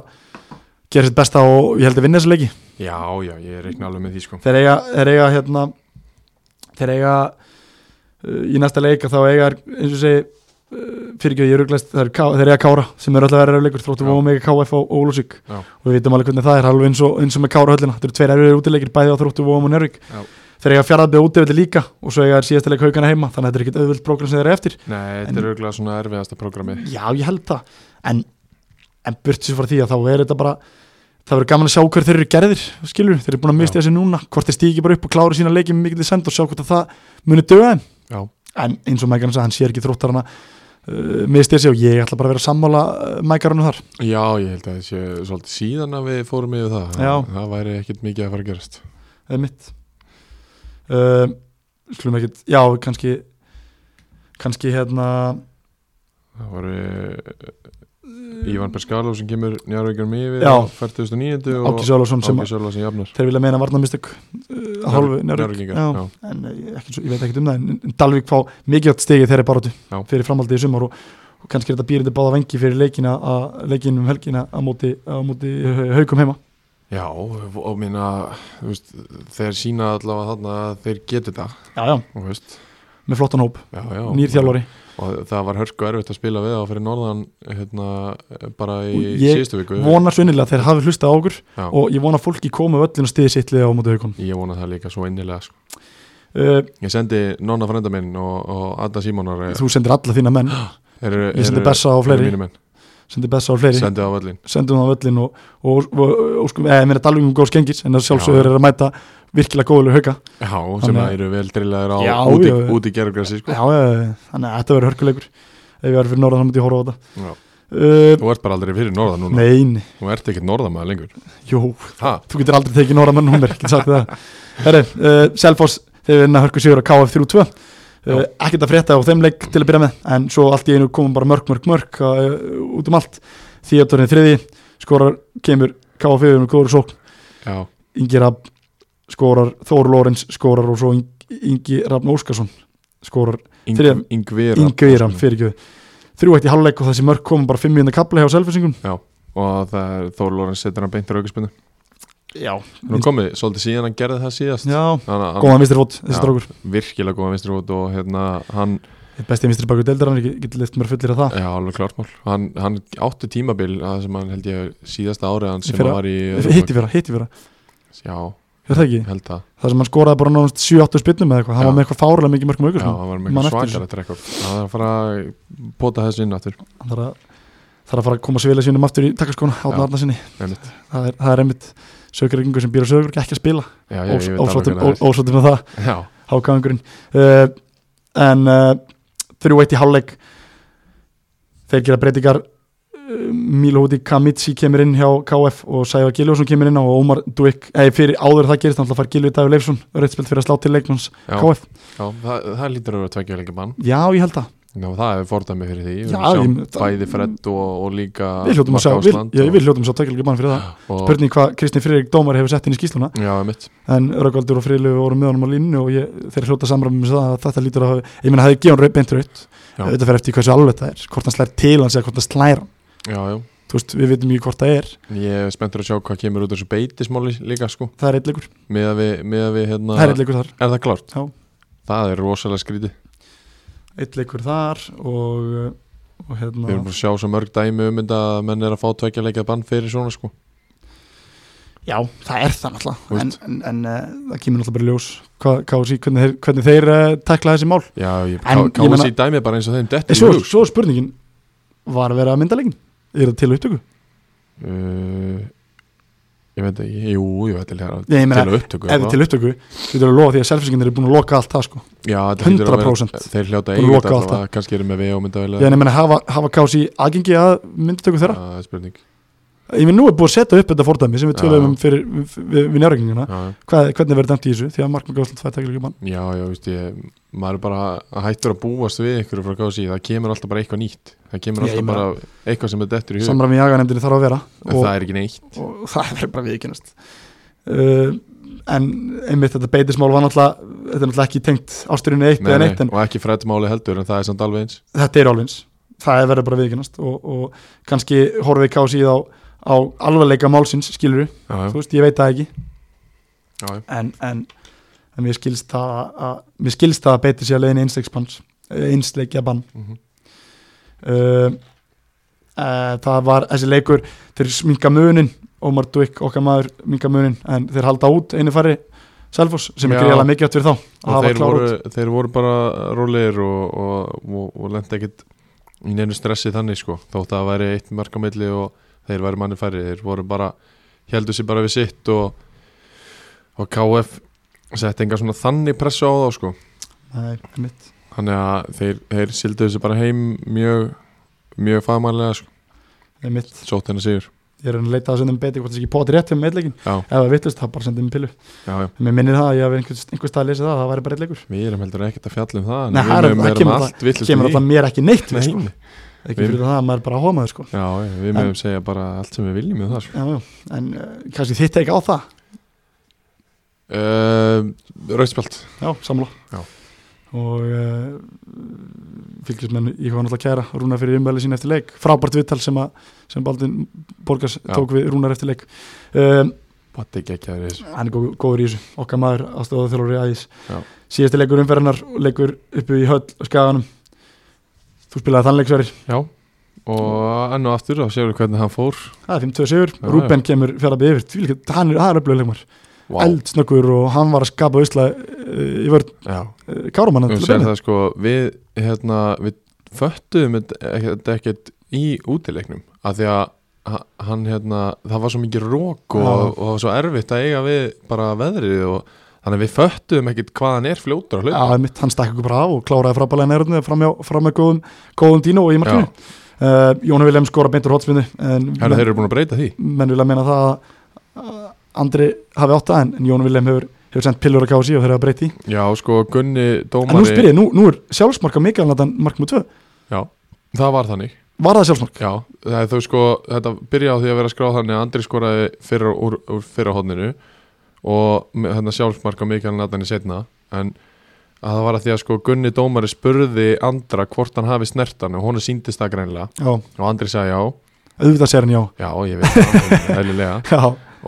Speaker 1: gera sitt besta og ég held að vinna þessa leiki
Speaker 2: Já, já, ég reikna alveg með því sko
Speaker 1: þeir eiga, þeir eiga hérna þeir eiga uh, í næsta leika þá eiga þeir, eins og segi uh, fyrirgjöð ég ruglast, þeir, K- þeir eiga Kára sem eru alltaf verið erfiðleikur, þróttu
Speaker 2: Já.
Speaker 1: vóðum eiga KF og Ólusík
Speaker 2: Já.
Speaker 1: og við vitum alveg hvernig það er alveg eins og, eins og með Kára höllina, þetta eru tveir erfiðir útileikir bæði á þróttu vóðum og Njörvík
Speaker 2: Já.
Speaker 1: þeir eiga fjaraðbyrð útileikir líka og svo eiga þeir síðasta leik haugana heima, þannig að þetta er ekkit auðvöld prógram sem þeir eru eftir
Speaker 2: Nei,
Speaker 1: En-
Speaker 2: þetta er auðvitað svona erfiðasta prógrami
Speaker 1: Já, ég held það En, en burt sér frá því að þá er þetta bara Það verður gaman að sjá hver þeir eru gerðir skilur, þeir eru búin að mista þessi núna hvort þeir stíki bara upp og klára sína leiki með mikill send og sjá hvort að það muni döga þeim
Speaker 2: Já,
Speaker 1: en eins og Mækarn sagði, hann sér ekki þróttar hana uh, mista þessi og ég ætla bara að vera að sammála uh, Mækarnu þar
Speaker 2: já, ég held að það sé svolítið síðan að við fórum yfir það
Speaker 1: Já.
Speaker 2: Það væri ekkit mikið að fara að gerast
Speaker 1: eða mitt uh, Skulum ekkit, já, kannski kannski hérna
Speaker 2: Það voru eh, Ívan Perskalov sem kemur njárvíkjum yfir
Speaker 1: Já.
Speaker 2: á 49. og
Speaker 1: Áki Sjólasson sem
Speaker 2: Áki Sjóla sem jafnar
Speaker 1: þeir vilja meina varnamistök uh, að hálfu Njarðvík.
Speaker 2: Njárvíkingar,
Speaker 1: Já.
Speaker 2: já.
Speaker 1: en eh, ekkert svo, ég veit ekkert um það en- en Dalvík fá mikið átt stegið þeirri baróttu
Speaker 2: Já.
Speaker 1: fyrir framhaldið í sumar og, og kannski er þetta býrindi báða vengi fyrir leikina að leikin um helgina á móti, á móti eh, haukum heima
Speaker 2: Já, og og minna, þú veist, þeir sína allavega þarna að þeir getur það,
Speaker 1: já, já.
Speaker 2: þú veist,
Speaker 1: með flottan hóp,
Speaker 2: já, já.
Speaker 1: nýr þjálfari
Speaker 2: Og það var hörku erfitt að spila við á fyrir norðan, hérna, bara í
Speaker 1: Og ég
Speaker 2: síðustu viku.
Speaker 1: vonar svo innilega að þeir hafi hlustað á okkur
Speaker 2: Já.
Speaker 1: og ég vona að fólki komi á öllin og stiði sitt liða á móti haukum
Speaker 2: Ég vona það líka svo innilega, sko.
Speaker 1: uh,
Speaker 2: Ég sendi nonna frænda minn og, og Adda Simónar,
Speaker 1: þú sendir alla þína menn
Speaker 2: eru,
Speaker 1: ég sendi Bessa á
Speaker 2: eru
Speaker 1: fleiri.
Speaker 2: mínir menn,
Speaker 1: sendir besta á fleiri,
Speaker 2: sendi á völlin.
Speaker 1: sendum það á öllin og, og, og, og, og sko, eða mér er Dalvík um góð skengis en það
Speaker 2: Já.
Speaker 1: sjálfsögur er að mæta virkilega góðulega hauka
Speaker 2: Já, sem
Speaker 1: Þannig að-
Speaker 2: að eru vel drillaðir á
Speaker 1: Já,
Speaker 2: út í,
Speaker 1: já, já.
Speaker 2: út í gerðgræsi, sko.
Speaker 1: Já, já, já, þannig að þetta verður hörkuleikur ef ég verður fyrir norðan þá myndi ég horfa á þetta
Speaker 2: Já.
Speaker 1: uh,
Speaker 2: Þú ert bara aldrei fyrir norðan núna.
Speaker 1: Nein,
Speaker 2: Þú ert ekkert norðamaður lengur.
Speaker 1: jú,
Speaker 2: Ha?
Speaker 1: þú getur aldrei tekið norðan mann númer, getur sagt það Herri, uh, Selfoss, þeir vinna hörku sigur á KF 3-2 uh,
Speaker 2: Já.
Speaker 1: ekkert að frétta á þeim leik til að byrja með en svo allt í einu komum bara mörg, mörg, mörg uh, út um allt, því að törnið þriði skorar, kemur KF 4 með góður sókn,
Speaker 2: Já,
Speaker 1: Ingi Rapp skorar, Þór Lórens skorar og svo Ingi, Ingi Rapp Óskarsson skorar Þriðja-
Speaker 2: yngvira.
Speaker 1: Ingviðram, fyrir ekki þrjú eitt í halvleik og þessi mörg komum bara fimm mínúna kapla hjá selfisingum
Speaker 2: og það er Þór Lórens setur hann beintur aukaspunni
Speaker 1: já,
Speaker 2: Nú komið, svolítið síðan hann gerði það síðast
Speaker 1: já
Speaker 2: Þannig að hann
Speaker 1: góðan vinstri fót, þessi
Speaker 2: Já.
Speaker 1: strákur
Speaker 2: virkilega góða vinstri út og hérna hann,
Speaker 1: Einn besti vinstri bakur deildar, hann getur leitt mér fullir að það
Speaker 2: já alveg klart mál hann, hann átti tímabil að sem hann held ég síðasta árið hann sem
Speaker 1: Fyrra.
Speaker 2: hann var í
Speaker 1: hitti vera, hitti vera,
Speaker 2: Já,
Speaker 1: er það ekki
Speaker 2: held það
Speaker 1: það sem hann skoraði bara náðast 7-8 spinnum eða eitthvað, hann
Speaker 2: Já.
Speaker 1: var með eitthvað fárulega mikið mörgum aukur
Speaker 2: Já, hann var með
Speaker 1: Man
Speaker 2: eitthvað
Speaker 1: eftir
Speaker 2: svakar að trekka Það er að fara að pota þessu inn aftur
Speaker 1: hann þarf að, þarf að fara að koma svila sínum aftur í takkaskona,
Speaker 2: Já.
Speaker 1: Átna Arna sinni
Speaker 2: Einmitt.
Speaker 1: það er, það er einmitt sögurrekingur sem býr á sögur ekki að spila,
Speaker 2: Já, ég, ég
Speaker 1: ósváttum
Speaker 2: veit alveg hvernig það
Speaker 1: ósváttum með það
Speaker 2: er. Já,
Speaker 1: hákangurinn uh, en uh, 3-1 í hálfleik þeir gera breytingar uh, Milhóti Kamitsi kemur inn hjá KF og Sævar Giljósson kemur inn á og Ómar Duik, eða fyrir áður en það gerist þannig að fara Giljói Dagur Leifsson, reyndspilt fyrir að slá til leikmanns
Speaker 2: já,
Speaker 1: KF,
Speaker 2: já það, það lítur að vera tveggja leikja bann
Speaker 1: já ég held það
Speaker 2: Já, það hefur fordæmi fyrir því Við
Speaker 1: Já,
Speaker 2: sjáum
Speaker 1: ég-
Speaker 2: Bæði Fred og, og líka
Speaker 1: við hljótum að sjá,
Speaker 2: Mark
Speaker 1: við,
Speaker 2: Ásland
Speaker 1: já,
Speaker 2: og-
Speaker 1: við hljótum að sjá tökjulegi mann fyrir það
Speaker 2: og-
Speaker 1: spurning hvað Kristinn Friðrik Dómar hefur sett inn í skýsluna
Speaker 2: Já, mitt
Speaker 1: en Rökkvaldur og Friðlegu voru með honum á línu og ég, þeir hljóta samræmi með það að þetta lítur að hafa- ég meina hefði gefið hann beint raut
Speaker 2: Já.
Speaker 1: þetta fer eftir hversu alveg það er, hvort hann slær til hans eða hvort hann slæra
Speaker 2: Já, já
Speaker 1: þú veist, við veitum mjög hvort það er
Speaker 2: Ég er spenntur að sjá hvað kemur út af þessu beitismáli líka sko
Speaker 1: það er eitthleikur,
Speaker 2: með að við, með að við hérna,
Speaker 1: það er eitthleikur þar
Speaker 2: er það klárt?
Speaker 1: Já.
Speaker 2: Það er rosalega skrítið
Speaker 1: eitthleikur þar og, uh, og
Speaker 2: Við
Speaker 1: hérna
Speaker 2: erum búin að sjá svo mörg dæmi um þetta að menn er að fá tvekja leikjað bann fyrir svona sko
Speaker 1: já, það er það
Speaker 2: Þú
Speaker 1: náttúrulega en,
Speaker 2: veist.
Speaker 1: en, en uh, það kemur náttúrulega bara í ljós hva, hva, hvernig þeir, hvernig þeir uh, tekla þessi mál
Speaker 2: Já, ég
Speaker 1: En ég
Speaker 2: káði
Speaker 1: meina-
Speaker 2: sér dæmi bara eins og þeim
Speaker 1: e,
Speaker 2: detti
Speaker 1: svo, svo er spurningin var að vera að mynda leikin er það til á upptöku?
Speaker 2: uh, Ég veit ekki, jú, jú, þetta er hérna
Speaker 1: Nei, ég meina,
Speaker 2: til að upptöku
Speaker 1: ef það er til upptöku, þú veitur að lofa því að selfisingin er búin að loka allt það sko
Speaker 2: Já, þetta hlýtur að vera-
Speaker 1: 100%.
Speaker 2: Þeir hljóta
Speaker 1: Búin að
Speaker 2: eigið
Speaker 1: loka allt
Speaker 2: alltaf, kannski erum við og mynda vel
Speaker 1: ég meina, hafa, hafa kási aðgengi að myndatöku þeirra
Speaker 2: Það er spurning
Speaker 1: ég minn nú er búið að setja upp þetta fordæmi sem við
Speaker 2: Já.
Speaker 1: töluðum um fyrir, við, við njárregninguna
Speaker 2: já, já.
Speaker 1: Hvað, hvernig verður dæmt í þessu því að Mark Magásland fæði takkilega mann
Speaker 2: Já, já, veist ég, maður er bara að hættur að búast við ykkur frá kási, það kemur alltaf bara eitthvað nýtt, það kemur
Speaker 1: Já, ég
Speaker 2: alltaf bara
Speaker 1: meina-
Speaker 2: eitthvað sem er dettur í hug,
Speaker 1: samræmi í aganemdini þarf að vera
Speaker 2: en
Speaker 1: og,
Speaker 2: það er ekki neitt.
Speaker 1: og það verður bara viðkynast uh, en einmitt þetta beitismál var náttúrulega þetta er náttúrulega ekki tengt ásturinu eitt
Speaker 2: Nei,
Speaker 1: eða
Speaker 2: nei,
Speaker 1: neitt en
Speaker 2: og ekki fredmáli heldur, en það er samt alveg eins.
Speaker 1: þetta er álvins það verður bara viðkynast og, og kannski horfið ekki á síðan á, á alvarleika málsins skilur
Speaker 2: Já, já,
Speaker 1: þú veist, ég veit það ekki
Speaker 2: já, já.
Speaker 1: en, en, en mér skilst það að mér skilst það að beiti sér að leiðin einsleikspans eh, einsleikja bann
Speaker 2: mhm.
Speaker 1: uh, uh, það var þessi leikur þeir sminka munin Ómar Duik okkar maður minka munin en þeir halda út einu fari Selfoss sem er
Speaker 2: Já.
Speaker 1: greiðlega mikið átt fyrir þá að
Speaker 2: og
Speaker 1: hafa
Speaker 2: þeir
Speaker 1: klár
Speaker 2: voru,
Speaker 1: út
Speaker 2: þeir voru bara rólegir og, og, og, og lendi ekkit í neinu stressi þannig sko þótt að það væri eitt mark á milli og þeir væri manni færri, þeir voru bara heldur sér bara við sitt og, og KF setti enga svona þannig pressu á þá sko
Speaker 1: Nei, einmitt.
Speaker 2: þannig að þeir, þeir sildu þessu bara heim mjög, mjög fagmælega sko,
Speaker 1: einmitt.
Speaker 2: sótt henni sigur
Speaker 1: ég er að reyna að leita að senda um beiti hvort þessi ekki poti rétt um meðleikin
Speaker 2: Já.
Speaker 1: ef það vittust það bara senda um pilu
Speaker 2: já, já,
Speaker 1: en mér minnir það að ég hafi einhvers, einhvers stað að lesa það að það væri bara eitt leikur
Speaker 2: við erum heldur ekkert að fjalla um það en
Speaker 1: Nei, það er-
Speaker 2: við
Speaker 1: það kemur
Speaker 2: mögum vera með
Speaker 1: alltaf-
Speaker 2: allt villust
Speaker 1: kemur alltaf mér ekki neitt við, sko.
Speaker 2: Nei,
Speaker 1: ekki fyrir það að maður er bara hómaður sko.
Speaker 2: já, já, við mögum segja bara allt sem við viljum með það sko.
Speaker 1: já, já. en uh, kannski þitt ekki á það
Speaker 2: Uh, Rauðspjöld
Speaker 1: Já, samlá
Speaker 2: Já.
Speaker 1: Og uh, fylgjismenn í hvað náttúrulega kæra Rúnar fyrir umvæli sín eftir leik Frábært vittal sem, að- sem Baldin Borgars
Speaker 2: Já.
Speaker 1: tók við Rúnar eftir leik um,
Speaker 2: Batti geggjaður í þessu
Speaker 1: Hann er góð, góður í þessu Okkar maður ástöðað þjálfur í æðis
Speaker 2: Já.
Speaker 1: Síðasti leikur umferðarnar Leikur uppu í höll og skaganum Þú spilaði þann leik sverir
Speaker 2: Já Og enn og aftur þá séu við hvernig hann fór
Speaker 1: Það er 52 sigur
Speaker 2: Já,
Speaker 1: Rúben kemur fjaraði yfir Tvílíka, hann er aðraplega leikmar
Speaker 2: Vá.
Speaker 1: Eldsnökkur og hann var að skapa Ísla uh, í vörð
Speaker 2: Já
Speaker 1: uh, Kárumann
Speaker 2: Þú sér það sko Við hérna Við föttuðum þetta ekkert- ekkert í útileiknum Af því að ha- hann hérna Það var svo mikið rók og,
Speaker 1: Já.
Speaker 2: og það var svo erfitt að eiga við bara veðrið og Þannig að við föttuðum ekkert hvað hann er fljótur á hlut
Speaker 1: Já, einmitt, hann stakk okkur bara af og kláraði frábælega nærunni fram, hjá- fram með góðum, góðum dínu og í markinu. Uh, Jónu Vilhelm skora beintur hótspinnu en
Speaker 2: Herra, þeir eru búin að breyta því
Speaker 1: menn, menn vilja meina það að að Andri hafi átta en, en Jónu Vilhelm hefur, hefur sendt pillur að kási og þeir hafa breytt í.
Speaker 2: Já, sko, Gunni
Speaker 1: En nú
Speaker 2: dómari
Speaker 1: spyrir ég, nú, nú er sjálfsmarka mikil en þetta mark múið tvö.
Speaker 2: Já, það var þannig
Speaker 1: Var það sjálfsmark?
Speaker 2: Já, það er þú sko, þetta byrja á því að vera skráð þannig að Andri skoraði fyrra, úr, úr fyrra hodninu og hérna sjálfsmarka mikil natani setna en að það var að því að sko Gunni Dómari spurði Andra hvort hann hafi snertan og honum síndist það greinlega
Speaker 1: Já,
Speaker 2: og Andri sagði já,
Speaker 1: auðvitað sér hann já.
Speaker 2: já ég veit það, eðlilega
Speaker 1: Já,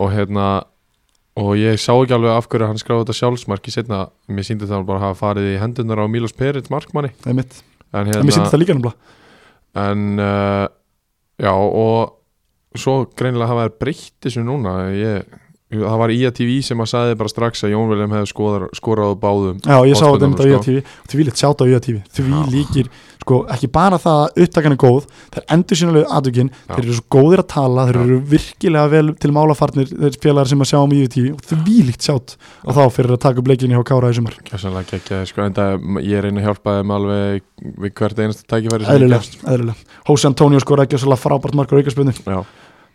Speaker 2: og hérna og ég sá ekki alveg af hverju hann skráði þetta sjálfsmarki setna, mér síndi það bara hafa farið í hendunar á Mílos Perins markmanni
Speaker 1: það er mitt.
Speaker 2: en hérna-
Speaker 1: En mér syndist það líka náttúrulega.
Speaker 2: en uh, já og svo greinilega hafa þær breytt þessu núna ég, það var IATV sem að sagði bara strax að Jón Vilhelm hefði skoðar, skorað á báðum
Speaker 1: Já, ég sá þetta
Speaker 2: Fótboltanum,
Speaker 1: einmitt á
Speaker 2: sko.
Speaker 1: IATV og því líkt sjáta á IATV því
Speaker 2: Já.
Speaker 1: líkir, sko, ekki bara það að upptakan er góð, það er endursynalegu aðtökin
Speaker 2: Já.
Speaker 1: þeir eru svo góðir að tala, þeir
Speaker 2: Já.
Speaker 1: eru virkilega vel til málafarnir þeir félagar sem að sjá um IATV og því líkt sjátt og þá fyrir að taka upp leikinu hjá Kára í sumar
Speaker 2: Gjörsanlega gekkjaði sko en það, ég reyna að hjálpa þeim alveg við hvert einasta tækifæri sem ég
Speaker 1: eðlilega,
Speaker 2: gefst.
Speaker 1: eðlilega, Hósi Antonio skoraði ekki svolítið frábært mark á aukarspunni,
Speaker 2: Já,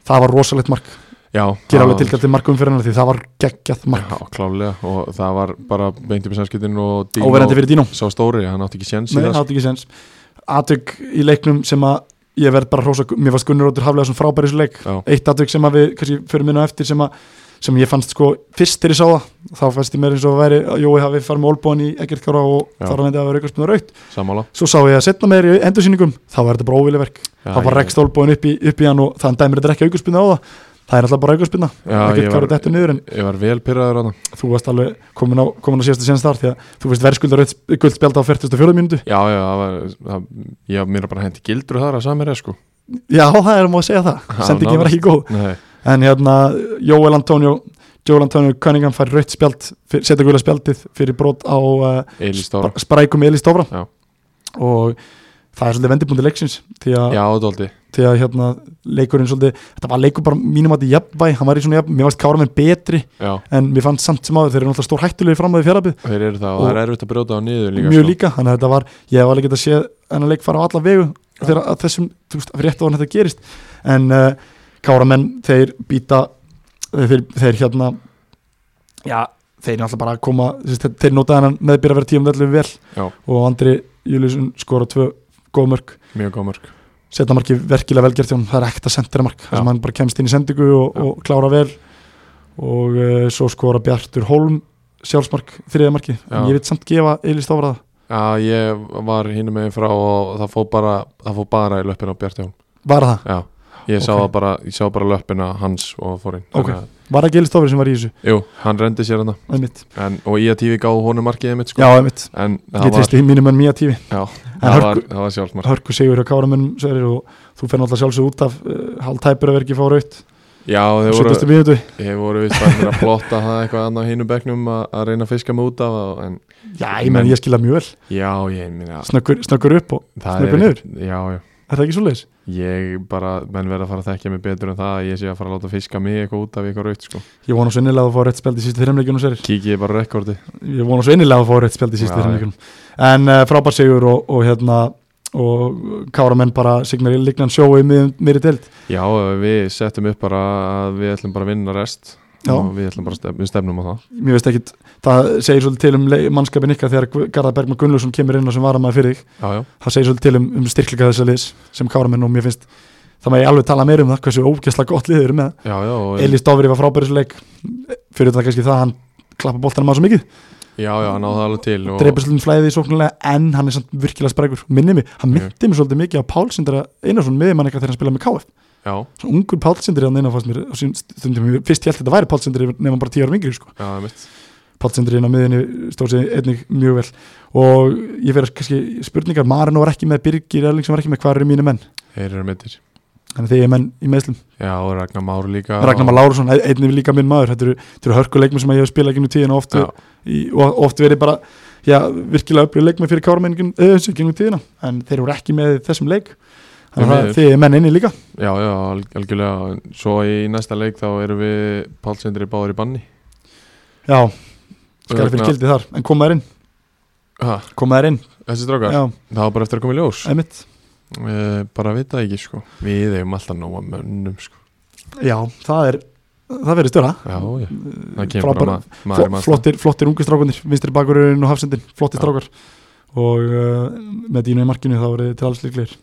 Speaker 1: það var rosalegt mark
Speaker 2: já
Speaker 1: gera
Speaker 2: það-
Speaker 1: alveg tilkalt til markum fyrir hennar því það var geggjað mark,
Speaker 2: Já, klálega og það var bara beint upp í samskiptin og Dino
Speaker 1: óverandi fyrir Dino
Speaker 2: sá stóri, hann átti ekki sjens í
Speaker 1: Nei, það
Speaker 2: það
Speaker 1: átti ekki sens Atök í leiknum sem að ég verð bara að hrósa, mér fannst Gunnar Róttur haflega svona frábæri í þessu leik,
Speaker 2: Já.
Speaker 1: eitt atök sem að við kannski förum inn á eftir sem að sem ég fannst sko fyrst þegar ég sá það þá fannst ég meira eins og að væri að Jói hafi farið með olbóin í ekkert kára og
Speaker 2: Já.
Speaker 1: þá var hann að vera aukarspunna raukt
Speaker 2: samála
Speaker 1: svo sá ég að setna meir í endursýningum þá var þetta bara óviliverk,
Speaker 2: Já,
Speaker 1: þá bara
Speaker 2: ég-
Speaker 1: rekst olbóin upp, í- upp í hann og þann dæmir þetta ekki aukarspunna á það það er alltaf bara aukarspunna,
Speaker 2: Já, ég
Speaker 1: ekkert
Speaker 2: var,
Speaker 1: kára dettur niður en
Speaker 2: ég var vel pyrraður á það
Speaker 1: þú varst alveg komin á, komin á síðasta senast þar því að þú veist verðskuldar guld spjald á 44 mínútu
Speaker 2: Já, já, það var, það, ég mér er bara hendi gildur þar að samir sko
Speaker 1: Já, það er um að segja það,
Speaker 2: Já,
Speaker 1: sendingin var
Speaker 2: nánast.
Speaker 1: ekki góð
Speaker 2: Nei,
Speaker 1: En hérna, Jóel Antonio Jóel Antonio Cunningham fær rautt spjald fyr- setja gula spjaldið fyrir brot á uh,
Speaker 2: Eli Stóra
Speaker 1: sp- sprækum Eli Stófra
Speaker 2: Já.
Speaker 1: og það er svolítið vendibundi leiksins því að,
Speaker 2: Já, Dóldi
Speaker 1: því að hérna, leikurinn svolítið, þetta var leikur bara mínum að þetta jafnvæg, hann var í svona jafn, mér varst Káramenn betri
Speaker 2: Já,
Speaker 1: en mér fannst samt sem áður, þeir eru náttúrulega stór hættulegi fram að því fjárabið,
Speaker 2: þeir eru það og það er erfitt að brjóta á niður líka
Speaker 1: mjög
Speaker 2: sko.
Speaker 1: líka, þannig að þetta var ég hef alveg getað séð hennar leik fara á alla vegu þegar að þessum, þú veist, rétt á hann þetta gerist en uh, káramenn þeir býta þeir, þeir, þeir hérna já, þeir náttúrulega bara koma þessi, þeir, þeir notaði hennan meðbyrja að vera tíum vellu vel
Speaker 2: Já.
Speaker 1: og Andri Júliusson skora tvö góð mörg
Speaker 2: mjög góð mörg
Speaker 1: setna marki verkilega velgert hjá hann það er ekta sendiramark, þar sem
Speaker 2: Já.
Speaker 1: hann bara kemst inn í sendingu og,
Speaker 2: Já.
Speaker 1: og klára vel og uh, svo skora Bjartur Holm sjálfsmark, þriða marki en
Speaker 2: Já.
Speaker 1: ég veit samt gefa Eilis Dávara það
Speaker 2: Já, ég var hinn megin frá og það fór bara, það fór bara í löppin á Bjartjón
Speaker 1: var það,
Speaker 2: Já, ég sá
Speaker 1: Ok.
Speaker 2: það bara, ég sá bara löppina hans og fór inn
Speaker 1: Ok.
Speaker 2: Þannig að-
Speaker 1: var ekki Eilis Dávara sem var í þessu
Speaker 2: Jú, hann rendi sér hann
Speaker 1: einmitt.
Speaker 2: en, og E ég tífi gá honum markiðið mitt sko.
Speaker 1: já, einmitt,
Speaker 2: en það
Speaker 1: ég
Speaker 2: var,
Speaker 1: treysti mínum en mía tífi
Speaker 2: já,
Speaker 1: en
Speaker 2: það var,
Speaker 1: hörku,
Speaker 2: það var sjálfsmark
Speaker 1: hörku sigur hjá káramennum Sverrir, og þú fer náttúrulega sjálfsög út af uh, haldtæpur að vera ekki fá raut
Speaker 2: Já, þeir voru,
Speaker 1: sjötustu mínútu,
Speaker 2: þeir voru vist að að plotta það eitthvað annað hinn um bekknum að, að reyna að fiska mig út af það, en
Speaker 1: já, ég menn
Speaker 2: Menn-
Speaker 1: ég skila mjög vel
Speaker 2: já, ég minna
Speaker 1: snöggur, snöggur upp og
Speaker 2: það
Speaker 1: snöggur
Speaker 2: er,
Speaker 1: niður,
Speaker 2: já, já
Speaker 1: er það ekki svo leiðis?
Speaker 2: ég bara, menn verða að fara að þekkja mig betur en það að ég sé að fara að láta fiska mig eitthvað út af eitthvað raut sko.
Speaker 1: Ég vona svo innilega að fá rétt spjald í sístu þreimleikjunum Sverrir
Speaker 2: kíkið ég bara á rekordi
Speaker 1: ég vona svo innilega að fá rétt spjald í sístu
Speaker 2: Já,
Speaker 1: þeirra leikunum en uh, frábær sigur og, og hérna og káramenn bara signar í lignan sjóu í mið- miðri deild
Speaker 2: já, við settum upp bara að við ætlum bara að vinna rest
Speaker 1: Já.
Speaker 2: og við ætlum bara að stefnum, við stefnum á það
Speaker 1: mér veist ekkit, það segir svolítið til um le- mannskapin ykkar þegar Guð- Garðar Bergman Gunnlaugsson kemur inn á sem varamaður fyrir þig
Speaker 2: já, já,
Speaker 1: það segir svolítið til um, um styrkleika þessa liðs sem káramenn og mér finnst það maður ég alveg tala meira um það hversu ógæsla gott liðið eru með
Speaker 2: já, já, og,
Speaker 1: Elís Dofri var frábæri svo leik fyrir það kannski það að hann klappa boltanum á svo mikið
Speaker 2: já, já, hann á það alveg til og,
Speaker 1: dreipur svolítið um flæðið í sóknulega en hann er samt virkilega spregur minni mig, hann
Speaker 2: Mjög.
Speaker 1: myndi mig svolítið mikið á Pálsindra Einarsson miðjumann eitthvað þegar hann spilaði með KF
Speaker 2: já,
Speaker 1: svona ungur Pálsindri hann inn á fannst mér og sín stundum ég fyrst held þetta væri Pálsindri nefnum bara 10 ára yngri sko.
Speaker 2: já, mitt
Speaker 1: Pálsindri inn á miðjunni stóð sér einnig mjög vel og ég fyrir kannski spurningar Marino var ekki með, Birgir Erlingsson var ekki með hvað eru mínu menn,
Speaker 2: þeir eru mittir
Speaker 1: þannig þegar ég er menn í meðslum
Speaker 2: já, og Ragnar Már líka
Speaker 1: Ragnar Már Lárusson, einnig líka minn maður þetta eru, þetta eru hörkuleikmi sem ég hef spilað ekki nú tíðina og oft,
Speaker 2: Já.
Speaker 1: í, og oft verið bara já, virkilega upplýð leikmi fyrir eh, kármenningin öðvins ekki nú tíðina, en þeir eru ekki með í þessum leik, þannig
Speaker 2: Því
Speaker 1: að
Speaker 2: miður.
Speaker 1: þið er menn inni líka
Speaker 2: já, já, al algjörlega En svo í næsta leik þá erum við Pálsindri báður í banni
Speaker 1: já, skæri fyrir
Speaker 2: Ragnar-
Speaker 1: gildi þar en koma þær inn,
Speaker 2: ha,
Speaker 1: koma þær inn
Speaker 2: þessi strákar,
Speaker 1: já,
Speaker 2: það var bara eftir að koma í ljós
Speaker 1: emitt
Speaker 2: Eh, bara vita ekki sko við hefum alltaf nóga mönnum sko
Speaker 1: já, það er, það verið störa
Speaker 2: já, já, það kemur
Speaker 1: Frábær-
Speaker 2: bara ma maður
Speaker 1: Fl-
Speaker 2: í manns stað.
Speaker 1: flottir, flottir ungu strákunir, vinstri bakurinn og hafsendin, flottir
Speaker 2: Já.
Speaker 1: strákar og uh, með dínu í markinu þá voru þið til alls líklegir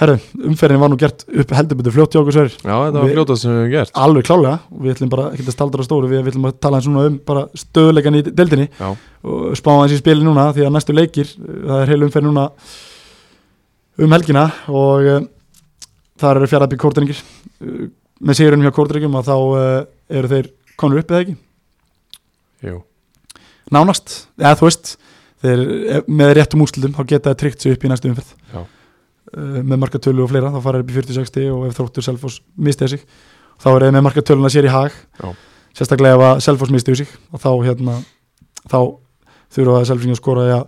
Speaker 1: Herru, umferðin var nú gert upp heldurbyrðu fljótt hjá okkur sverir
Speaker 2: já, þetta var
Speaker 1: Við- Ah,
Speaker 2: fljótað sem við hefum gert
Speaker 1: alveg klálega og við ætlum bara ekki að staldra á stóru við, við ætlum að tala eins og um bara stöðuleikan í deildinni
Speaker 2: Já.
Speaker 1: og spá aðeins í spili núna því að næstu leikir, uh, það er heil umferð núna um helgina og uh, þar eru fjaraðbygg kórdrengir uh, með sigurinn hjá kórdrengjum og þá uh, eru þeir konur upp eða ekki,
Speaker 2: Jú.
Speaker 1: nánast eða þú veist, þeir eh, með réttum úrslutum þá geta þeir tryggt sig upp í næstu umferð
Speaker 2: Já.
Speaker 1: Uh, með markatölu og fleira, þá fara þeir upp í 46 stig og ef þróttur Selfoss mistið sig þá eru þeir með markatöluna sér í hag sérstaklega ef að Selfoss misti úr sig og þá hérna þá þurfa að Selfoss að skora ja,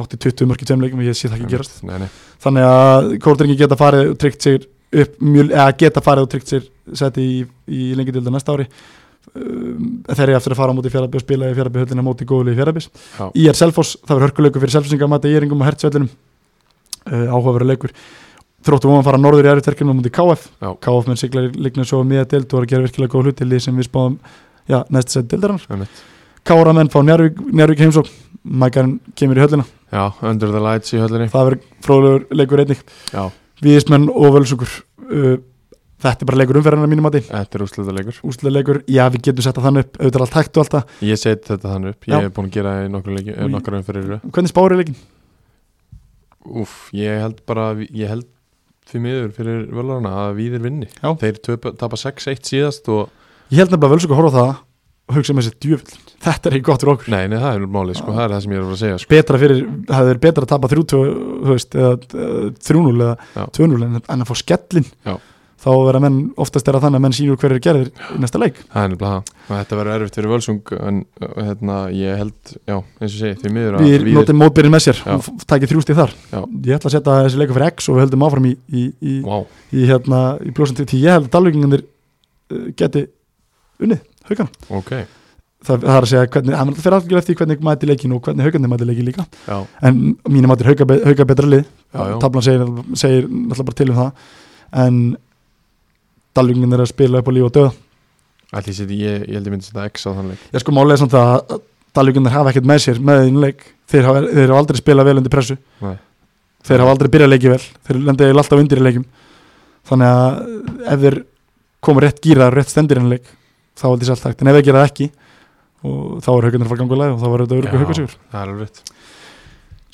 Speaker 1: 80-20 mörg í tveim leikum og ég sé það ekki gerast
Speaker 2: nei, nei.
Speaker 1: þannig að kórdringi geta farið og tryggt sér upp mjög, eða geta farið og tryggt sér seti í, í lengi dilda næsta ári Um, þeir eru eftir að fara á móti fjárabjörn spila í fjárabjörn höllina á móti góðlega í
Speaker 2: Já.
Speaker 1: fjárabjörn í er Selfoss, það verður hörkuleikur fyrir Selfossinga mæta í eringum og hertsvellinum uh, áhugaveru leikur þróttu vonum að fara norður í erfitverkjum á móti KF
Speaker 2: Já.
Speaker 1: KF menn siglar líkna svo miða deild og er að gera virkilega góð hluti lið sem við spáðum já, næst sett deildarinnar
Speaker 2: Einmitt.
Speaker 1: Kára menn fá Njárvík, Njárvík heimsók Mækarinn kemur í höllina
Speaker 2: já, under the lights í höllinni
Speaker 1: það verður fróðlegur leikur einnig
Speaker 2: já,
Speaker 1: Víðismenn og Völsungur uh, Þetta er bara leikur umferðina mínum að því
Speaker 2: þetta er úsleita leikur
Speaker 1: Úslega leikur, já við getum setta þann upp auðvitað er allt hægt og allt það
Speaker 2: ég set þetta þannig upp,
Speaker 1: Já.
Speaker 2: ég hef búin að gera það í nokkra leiki,
Speaker 1: Og ég-
Speaker 2: nokkra umfyrir
Speaker 1: Hvernig spáir er leikin?
Speaker 2: Úf, ég held bara, ég held fyrir miður fyrir völarna að við er vinni
Speaker 1: Já.
Speaker 2: þeir töpa, tapa 6-1 síðast og
Speaker 1: Ég held nefnilega að Völsungur horfa á það og hugsa með sér djöfull Þetta er ekki gott fyrir okkur
Speaker 2: nei, nei, það er málið, sko,
Speaker 1: Já.
Speaker 2: það er það sem ég er að fara að segja sko.
Speaker 1: Betra fyrir, það er betra að tapa 3-2 þú veist, eða eh, 3-0 eða
Speaker 2: Já.
Speaker 1: 2-0 en, en að fá skellin
Speaker 2: Já.
Speaker 1: þá verða menn, oftast er að þannig að menn sínur hverju gerðir í næsta leik
Speaker 2: það er nefnilega það, og þetta verður erfitt fyrir völsung en uh, hérna, ég held, já, eins og ég segi fyrir miður að
Speaker 1: Við
Speaker 2: Víðir-
Speaker 1: notum mótbyrðin með sér
Speaker 2: Já.
Speaker 1: og takir þrjústið þar
Speaker 2: Já.
Speaker 1: Ég ætla að setja þessi leiku fyrir X og við höldum áfram í, í, í,
Speaker 2: Vá,
Speaker 1: í, hérna, í blóðsum til ég held að dalvíkingandir uh, geti unnið haugana
Speaker 2: ok,
Speaker 1: það, það er að segja hvernig, það fyrir algjörlega eftir því hvernig mæti leikin og hvernig haugandi mæti leikin líka
Speaker 2: já,
Speaker 1: en mínu mæti er hauga, be- hauga betra lið
Speaker 2: Já, já.
Speaker 1: tablan segir, segir náttúrulega bara til um það en dalvingin er að spila upp á líf og döða
Speaker 2: Ætli seti, ég, ég held ég myndi setja X á þann leik
Speaker 1: ég sko málega samt að dalvinginir hafa ekkert með sér með innleik, þeir hafa, þeir hafa aldrei spilað vel undir pressu
Speaker 2: Nei.
Speaker 1: þeir hafa aldrei byrjað leikið vel, þeir lendið eiginlega alltaf undir í leikum þannig að ef þeir koma rétt gýraðar, rétt stendir í leik, þá held ég sér allt hægt en ef þeir gera það ekki, og þá er haugarnir að fara gangulega og þá var þetta
Speaker 2: Já,
Speaker 1: örgu haugarsigur
Speaker 2: Það er alveg rétt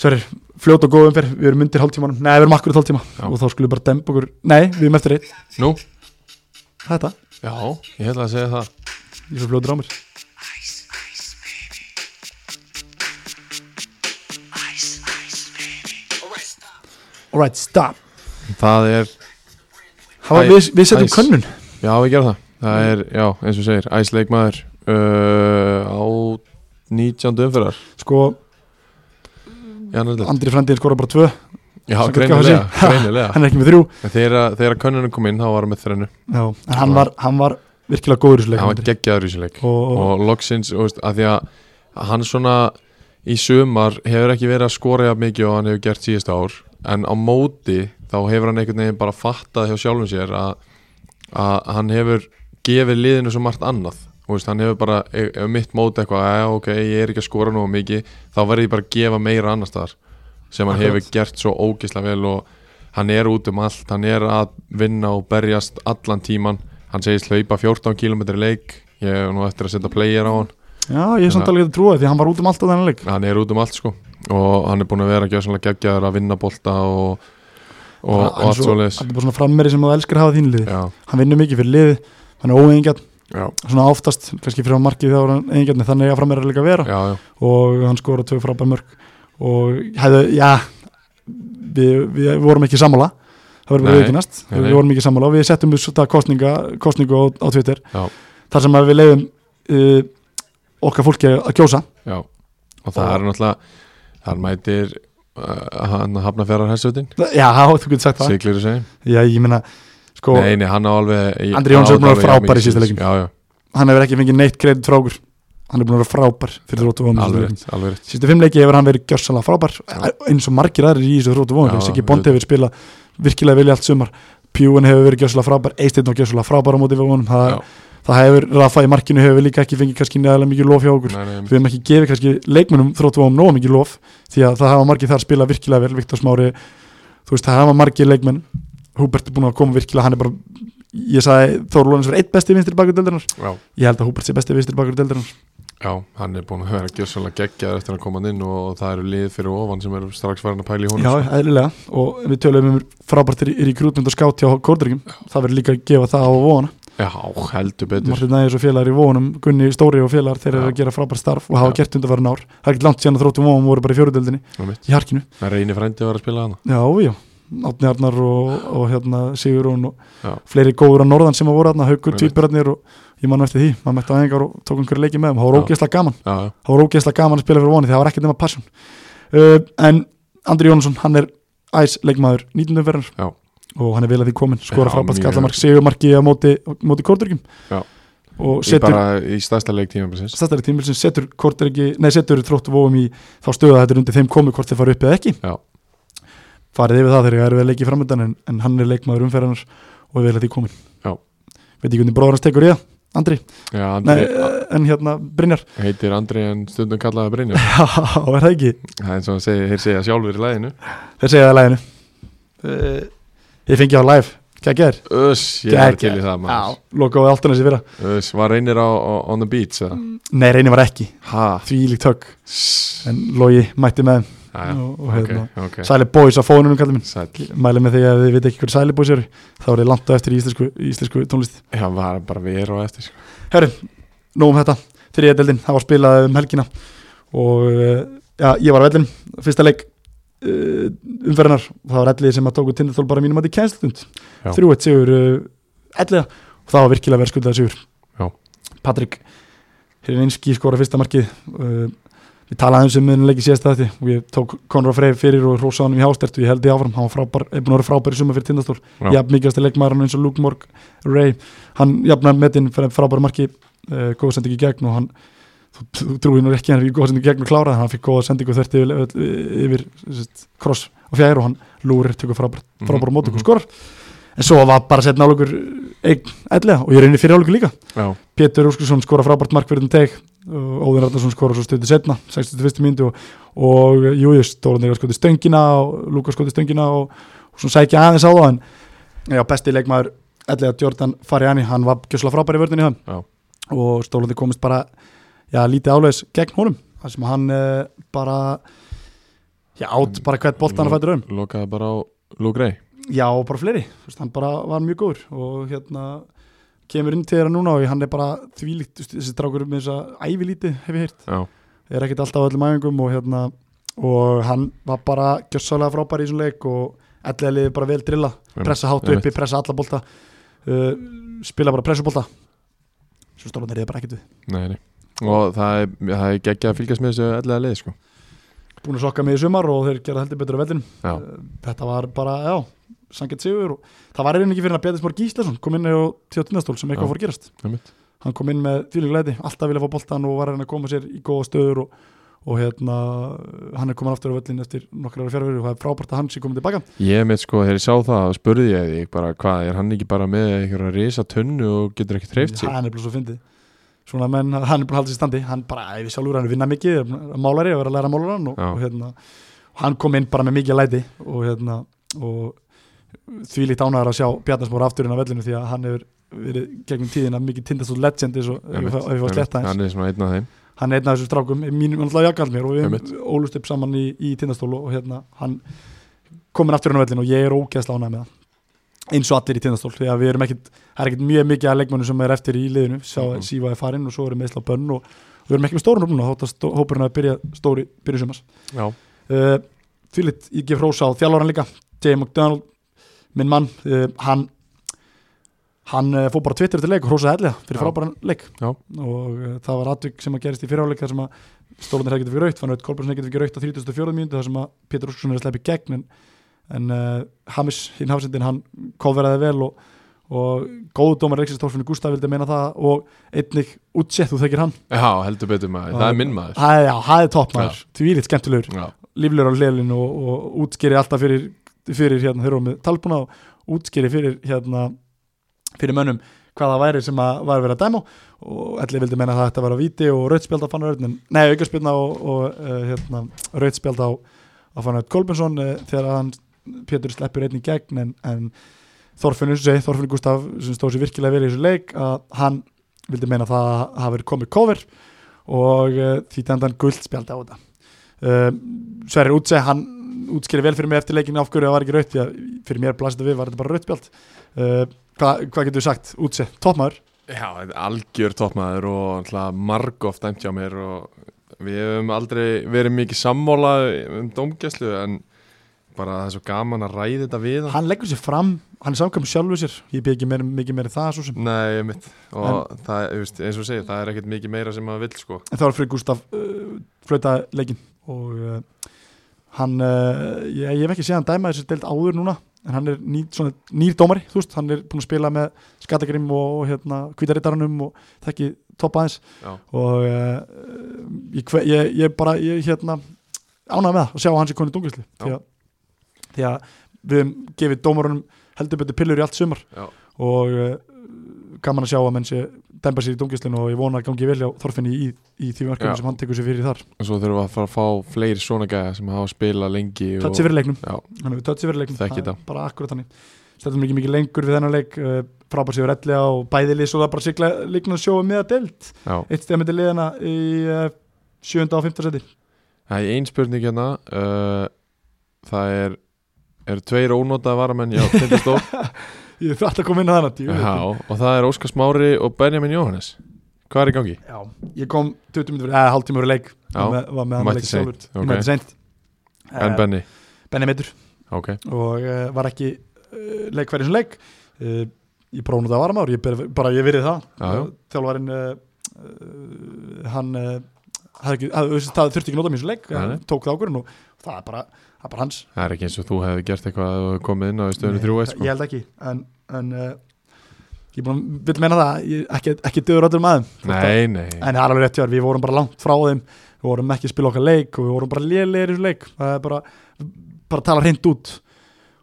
Speaker 1: Sverir, fljót og góð umferð, við erum undir hálftímanum Nei, við erum akkur í hálftíma
Speaker 2: Já.
Speaker 1: og þá skulum við bara dempa okkur Nei, við erum eftir einn,
Speaker 2: Nú,
Speaker 1: þetta,
Speaker 2: já, ég held að segja það
Speaker 1: ég er svo fljótur á mér Alright, stop
Speaker 2: Það er,
Speaker 1: Hafa,
Speaker 2: Æ,
Speaker 1: við, við setjum
Speaker 2: æs.
Speaker 1: könnun
Speaker 2: já, ég gera það Það er, já, eins og segir, æsleikmaður uh, á 19. umfyrrar
Speaker 1: Sko,
Speaker 2: Já, nefnilega.
Speaker 1: Andri frændið skora bara tvö sem
Speaker 2: já
Speaker 1: gott
Speaker 2: greinilega,
Speaker 1: gaman að sé.
Speaker 2: greinilega.
Speaker 1: Hann er ekki með þrjú
Speaker 2: En Þegar, þegar könnunum kom inn, þá var hann með þrennu
Speaker 1: Já, en hann var, hann var virkilega góður í þessu leik
Speaker 2: hann var
Speaker 1: Andri.
Speaker 2: geggjaður í þessu leik
Speaker 1: Og-
Speaker 2: og, loksins, þú veist, að því að hann svona í sumar hefur ekki verið að skora jafn mikið og hann hefur gert síðust ár en á móti þá hefur hann einhvern veginn bara fattað hjá sjálfum sér að, að hann hefur gefið liðinu svo margt annað Þú veist, hann hefur bara, ef ef mitt móti eitthvað að ok, ég er ekki að skora nógu mikið þá verður ég bara að gefa meira annars staðar sem hann
Speaker 1: Akkurat.
Speaker 2: hefur gert svo ógislega vel og hann er út um allt, hann er að vinna og berjast allan tíman hann segist hlaupa 14 km leik ég hef nú eftir að setja player á hann
Speaker 1: Já, ég er samt alveg að trúa því að hann var út um allt á þennan leik
Speaker 2: hann er út um allt sko og hann er búin að vera að geggjaður að vinna bolta og, og,
Speaker 1: Hann-
Speaker 2: og
Speaker 1: hann
Speaker 2: allt
Speaker 1: svo-
Speaker 2: svoleiðis
Speaker 1: Hann er bara svona frammeri sem þú elskar að hafa í þínu liði
Speaker 2: já,
Speaker 1: Hann vinnur mikið fyrir liði, hann er óengjarn
Speaker 2: já,
Speaker 1: svona oftast, kannski fyrir á markið þá er hann engjarni, þannig að frammeira líka að vera
Speaker 2: já, já,
Speaker 1: og hann skora tvö frábær mörg og hefðu, já við, við vorum ekki sammála það verður bara
Speaker 2: Nei,
Speaker 1: auðvitað,
Speaker 2: nei, nei.
Speaker 1: við vorum ekki sammála og við settum þetta kostninga, kostningu á, á Twitter
Speaker 2: Já.
Speaker 1: þar sem að við leiðum uh, okkar fólki að kjósa
Speaker 2: já og það
Speaker 1: Og-
Speaker 2: er náttúrulega þar mætir uh, hann hafna fjara hersöðin
Speaker 1: já, þú getur sagt það
Speaker 2: siglir að segja
Speaker 1: já, ég meina, sko,
Speaker 2: nei, nei, hann á alveg ég-
Speaker 1: Andri Jóns
Speaker 2: hann á
Speaker 1: er búinn að vera frábær
Speaker 2: alveg jafn
Speaker 1: í
Speaker 2: mikið
Speaker 1: síðasta
Speaker 2: síns.
Speaker 1: leiknum.
Speaker 2: já, já,
Speaker 1: hann hefur ekki fengið neitt kredit frá okkur hann er búin að vera frábær fyrir þróttu
Speaker 2: alveg
Speaker 1: vonum
Speaker 2: rétt, alveg rétt
Speaker 1: sístu fimm leiki hefur hann verið gjörsalega frábær e, eins og margir aðrir í þessu þróttu
Speaker 2: Já,
Speaker 1: vonum Siggi Bond
Speaker 2: auðvitað.
Speaker 1: hefur spilað virkilega vel í allt sumar Pjúin hefur verið gjörsalega frábær Eisteinn var gjörsalega frábær á móti við vonum það,
Speaker 2: Já.
Speaker 1: það hefur Rafa í markinu hefur líka ekki fengið kannski neðalega mikið lof hjá okkur
Speaker 2: Nei, nei,
Speaker 1: við hefum ekki gefið kannski leikmennum þróttu vonum nóg mikið lof því að það hafa margir þar spilað virkilega vel Viktor Smári, þú veist það hafa margir leikmenn Húbert er búin að koma virkilega hann er bara, ég sagði Þóru Lónins var eitt besti vinstri bakur deildarinnar
Speaker 2: já,
Speaker 1: ég held að Húbert sé besti vinstri bakur deildarinnar
Speaker 2: já, hann er búin að vera gjössalega geggjaður eftir að koma hann inn og það eru lið fyrir ofan sem eru strax farin að pæla í honum
Speaker 1: Já,
Speaker 2: sko.
Speaker 1: eðlilega og við tölum um frábært er í rekrútmynd og skátt hjá Kordryggum það verður líka að gefa það á vóana
Speaker 2: já, heldur betur
Speaker 1: Martin Nægis og félagar í vóanum, Gunni Stóri og félagar þeir eru
Speaker 2: Já.
Speaker 1: að gera frábært starf og hafa
Speaker 2: Já.
Speaker 1: gert undarverðin ár það er ekki langt síðan að þróttum vóanum voru bara í fjóruðöldinni
Speaker 2: Einmitt.
Speaker 1: í harkinu,
Speaker 2: Það reynir frændi var að spila hana
Speaker 1: já, já Átni Arnar og, og hérna Sigurún og
Speaker 2: Já.
Speaker 1: fleiri góður á norðan sem að voru hérna, haukur,
Speaker 2: Einmitt.
Speaker 1: tvíburarnir og ég mann eftir því, maður mætti á engar og tók einhverju leiki með þeim, það var
Speaker 2: Já.
Speaker 1: ógeðslega gaman
Speaker 2: Já, já,
Speaker 1: það var ógeðslega gaman að spila fyrir vonið það var ekkert nema passion uh, en Andri Jónsson, hann er æs leikmaður 19. verðar
Speaker 2: Já.
Speaker 1: og hann er vel að því komin, skora
Speaker 2: Já,
Speaker 1: frábært
Speaker 2: mjög.
Speaker 1: skallamark segumarki á móti, á móti Kortryggjum
Speaker 2: Já.
Speaker 1: og
Speaker 2: í
Speaker 1: setur
Speaker 2: bara í stærsta leik tímabilsins
Speaker 1: stættari tímilsin, setur Kortryggi nei, setur þróttu vóum í þá stöðu að þetta er undir þeim komi hvort þeir fara upp eða ekki
Speaker 2: Já.
Speaker 1: farið yfir það þegar það er við að leiki framöndan en, en hann er leikmaður umferðarnar og er vel að því komin
Speaker 2: Já.
Speaker 1: veit ekki hvernig bróður hans tekur í það Andri,
Speaker 2: Já,
Speaker 1: nei,
Speaker 2: Andri
Speaker 1: en hérna Brynjar,
Speaker 2: heitir Andri en stundum kallaði Brynjar
Speaker 1: já, er það ekki
Speaker 2: Það er eins og hann segir, þeir segja sjálfur í læginu
Speaker 1: Þeir segja það í læginu uh, Ég fengi á live, hvað gerir?
Speaker 2: Öss, ég er
Speaker 1: Geggjað.
Speaker 2: til í það maður
Speaker 1: Loka á Altanesi fyrra
Speaker 2: Öss, var Uh, reynir á, á on the beach eða?
Speaker 1: Nei, reyni var ekki,
Speaker 2: Ha,
Speaker 1: því líkt högg
Speaker 2: sss
Speaker 1: En Logi mætti með þeim
Speaker 2: Já,
Speaker 1: og, og
Speaker 2: Ah, ok,
Speaker 1: hérna,
Speaker 2: ok
Speaker 1: Sæli Boys á fónunum kallar minn
Speaker 2: Sæll
Speaker 1: Mæli með því að þið veit ekki hverju Sæli Boys eru Þá er þið landa eftir í íslensku, í íslensku tónlist
Speaker 2: Já, var bara vera og eftir sko.
Speaker 1: Herru, nóg um þetta Þriðja deildin, það var spilað um helgina Og uh, já, ég var á vellin Fyrsta leik uh, umferðinar Það var ellið sem að tóku tindastól bara mínum að þið kænslutund
Speaker 2: Já.
Speaker 1: 3-1 sigur uh, elliða og það var virkilega verið skuldaði sigur
Speaker 2: Já.
Speaker 1: Patrik Hrinski skora fyrsta markið uh, við talaði um sem miðnuleiki síðast þetta og ég tók Konra Freyr fyrir og rósa honum í hástert og ég held því áfram, hann var frábær, er búin að vera frábær í suma fyrir tindastól,
Speaker 2: Já.
Speaker 1: jafn mikilvægast leikmaður eins og Luke Morg, Ray, hann jafnar metinn fyrir frábæru marki uh, góða sendingu í gegn og hann þú, þú trúið nú ekki hann er í góða sendingu í gegn og kláraði hann fikk góða sendingu þvert yfir, yfir, yfir sem sagt, kross og fjær og hann lúrir, tekur frábær, frábær mm -hmm,
Speaker 2: Mhm,
Speaker 1: mót og
Speaker 2: mhm.
Speaker 1: skorar en svo var bara setna álugur eign ætlega og ég reyni fyrir álugur líka
Speaker 2: já,
Speaker 1: Pétur Úrskursson skora frábært mark fyrir um teg og Óðin Ragnarsson skora svo stöðu setna 61. mínútu og, og Jújus Stórnir skoti stöngina og Lúkas skoti stöngina og, og svona sækja aðeins á það en já, besti leikmaður ætlega Jordan Fariani, hann var gjössalega frábær í vörðinni hann
Speaker 2: Já.
Speaker 1: og Stórnir komist bara já, lítið áleis gegn honum þar sem hann uh, bara já, átt bara hvert boltan að fæta raun
Speaker 2: lokaði bara á Lúgrei
Speaker 1: Já, og bara fleiri, Þú veist, hann bara var mjög góður og hérna kemur inn til þeirra núna og hann er bara þvílíkt, þú veist, þessi drákur með þess að ævilíti hef ég heyrt,
Speaker 2: já,
Speaker 1: er ekkert alltaf á öllum æfingum og hérna, og hann var bara gjössalega frábær í þessum leik og allega liði bara vel drilla,
Speaker 2: Einmitt,
Speaker 1: pressa hátu
Speaker 2: einmitt.
Speaker 1: uppi, pressa alla bolta uh, spila bara pressubolta svo stólan er bara ekkert við
Speaker 2: nei, nei og það er, það er geggjað að fylgjast með þessu ellega leið sko.
Speaker 1: búin að sokka mig í sumar og þeir gera heldur betur á vellinum
Speaker 2: já,
Speaker 1: Eh, þetta var bara, já, sangið sigur og það var einnig ekki fyrir hann að Bjartis Mór Gíslason kom inn á tjóttunastól sem
Speaker 2: Já.
Speaker 1: eitthvað fór að gerast
Speaker 2: einmitt.
Speaker 1: hann kom inn með þvílík læti, alltaf vilja fá boltan og var að reyna að koma sér í góða stöður og, og hérna, hann er komin aftur á völlin eftir nokkrar ára fjárfyrir og það er frábært að hann sé komin tilbaka
Speaker 2: ég mitt sko, þegar ég sá það spurði ég því bara hvað, er hann ekki bara með einhverja risa tunnu og getur ekki treyft sig
Speaker 1: hann er bara svo fyndið svona menn, hann er búin að halda sér í standi hann bara, æ, við sjálfur hann er að vinna mikið er að málari og er að læra málaran og,
Speaker 2: Já.
Speaker 1: og hérna, og hann kom inn bara með mikið læti og hérna og því líkt ánæður að sjá Bjarnarsmór aftur inn á vellinu því að hann hefur verið gegnum tíðina mikið tindast og legend eins og ef ég
Speaker 2: Einmitt,
Speaker 1: fá- ef ég fá að
Speaker 2: einmitt.
Speaker 1: sletta hans
Speaker 2: hann er svona einn af þeim
Speaker 1: hann er einn af þessum strákum, mínum alltaf jakalmir og við
Speaker 2: Einmitt.
Speaker 1: höfum ólust upp saman í, í tindastólu og hérna, hann komin aftur hann á vellin og ég er ógeðslega ánægð með það eins og allir í tindastól, því að við erum ekkit það er ekkit mjög mikið af leikmönnum sem er eftir í liðinu sjá að
Speaker 2: Mhm.
Speaker 1: Síva er farinn og svo erum meðsla bönn og við erum ekki með stórun núna þótt að stó, hópurinn að byrja stóri byrja sumars
Speaker 2: já,
Speaker 1: uh, Fylit, ég gef rósa á þjálfóran líka J. McDonald, minn mann uh, hann hann uh, fór bara Twitter til leik og hrósaði hellega fyrir
Speaker 2: Já.
Speaker 1: frábæran leik
Speaker 2: Já.
Speaker 1: og uh, það var atvik sem að gerist í fyriráleik þar sem að Stólunir hefði getið fyrir raukt, Fannaut Kolbjörnsson hefði getið fyrir raukt á 34. mínútu þar sem að Pétur Úrskursson er að sleppi gegn en, en uh, Hamis, hinn hafsendin, hann kofveraði vel og, og góðu dómar Reykjavík Stórfinn Gustaf vildi meina það og einnig útsett, þú þekkir hann
Speaker 2: já heldur betur maður, það er minn maður
Speaker 1: Æ, já, það er topp maður, því ílitt skemmtilegur
Speaker 2: já,
Speaker 1: líflegur á hliðlinu og, og útskýri alltaf fyrir, fyrir hérna, þeir eru með talbúna og útskýri fyrir hérna, fyrir mönnum hvað það væri sem að var verið að dæma á. og allir vildi menna að þetta var að víti og rauðspjald á fannar öðnin, nei aukarspjaldna og, og uh, hérna, rauðspjald á, á fannar öðn Kolbensson uh, þegar hann Pétur sleppur einn í gegn en, en Þorfinn, eins og segi, Þorfinn Gustaf sem stóð sér virkilega vel í þessu leik að hann vildi meina að það hafi verið komið cover og uh, því dendan guldspjaldi á þetta uh, Sverri Útse, hann útskýri vel fyrir mig eftir leikinu af hverju það var ekki raut því að fyrir mér blasið við var þetta bara rautspjald uh, hvað hva getur við sagt, Útse, toppmaður
Speaker 2: já þetta er algjör toppmaður og alltaf marg oft dæmt hjá mér og við hefum aldrei verið mikið sammála um dómgæslu en bara það er svo gaman að ræða þetta við hann.
Speaker 1: hann leggur sér fram, hann er samkvæmur sjálfu sér ég bygg ekki meir, mikið meira en það svo sem
Speaker 2: Nei, mitt og það, þú veist, eins og segir, það er ekkert mikið meira sem maður vill sko
Speaker 1: en það var fyrir Gustaf uh, flöta leikin og uh, hann uh, ég, ég hef ekki séð hann dæma þessi deild áður núna en hann er ný, svona, nýr dómari þú veist, hann er búin að spila með Skatagrim og hérna, Kvítarittarunum og þekki topp aðeins
Speaker 2: Já,
Speaker 1: og uh, ég, kve- ég, ég bara ég, hérna, ánægði með það og sjá að hann sé konu dungisli því að, því að við höfum gefið dómarunum heldur betur pillur í allt sumar
Speaker 2: já,
Speaker 1: og uh, gaman að sjá að menn sé dæmba sér í dungislinu og ég vona að gangi vel hjá Þorfinni í, í því verkefni
Speaker 2: Já.
Speaker 1: sem hann tekur sér fyrir þar
Speaker 2: og svo þurfum við að fara að fá fleiri svona gæða sem hafa spilað lengi og,
Speaker 1: tötsi fyrir leiknum,
Speaker 2: Já,
Speaker 1: hann hefur tötsi fyrir leiknum
Speaker 2: Þekki
Speaker 1: er bara akkurat þannig stættum ekki mikið lengur við þennan leik uh, frábær sér ellega og bæði lið svo það bara sigla líknum að sjóa með að deild
Speaker 2: já
Speaker 1: eitt stefn myndi liðana í uh, 7. og 5. seti
Speaker 2: Það er ein spurning hérna uh, Það er eru tveir ónótað varamenn já, Tindastól
Speaker 1: Ég þarf alltaf að koma inn á þannig
Speaker 2: Já, og það er Óskar Smári og Benjamin Jóhannes Hvað er í gangi?
Speaker 1: Já, ég kom 20 minnur, eða hálftíma verið leik
Speaker 2: Já,
Speaker 1: var með, var með hann
Speaker 2: mætti
Speaker 1: leik
Speaker 2: seint,
Speaker 1: sjálfur
Speaker 2: ok.
Speaker 1: Ég mætti seint Eh,
Speaker 2: En Benny,
Speaker 1: Benni meitur
Speaker 2: ok
Speaker 1: og uh, var ekki uh, leik hverjum leik uh, Ég prófum þetta að varum ár, ég ber, bara ég verið það
Speaker 2: Já, já.
Speaker 1: Uh, Þjálfarinn, uh, uh, hann uh, hafði ekki, hafði, þú veist, það þurfti ekki nota mér sem leik
Speaker 2: Nei,
Speaker 1: hann
Speaker 2: nei.
Speaker 1: tók það ákvörðin og það er bara, það er bara hans
Speaker 2: Það er ekki eins og þú hefði gert eitthvað að þú komið inn á í stöðunni
Speaker 1: Nei,
Speaker 2: þrjú
Speaker 1: það-
Speaker 2: eitt sko.
Speaker 1: Ég held ekki, en, en uh, ég búin, vil meina það, ég, ekki, ekki döður öllum aðum
Speaker 2: Nei, nei,
Speaker 1: En það er alveg rétt hjá þér, við vorum bara langt frá þeim Við vorum ekki að spila okkar leik og við vorum bara lélegir í þessu leik Það er bara, bara að tala hreint út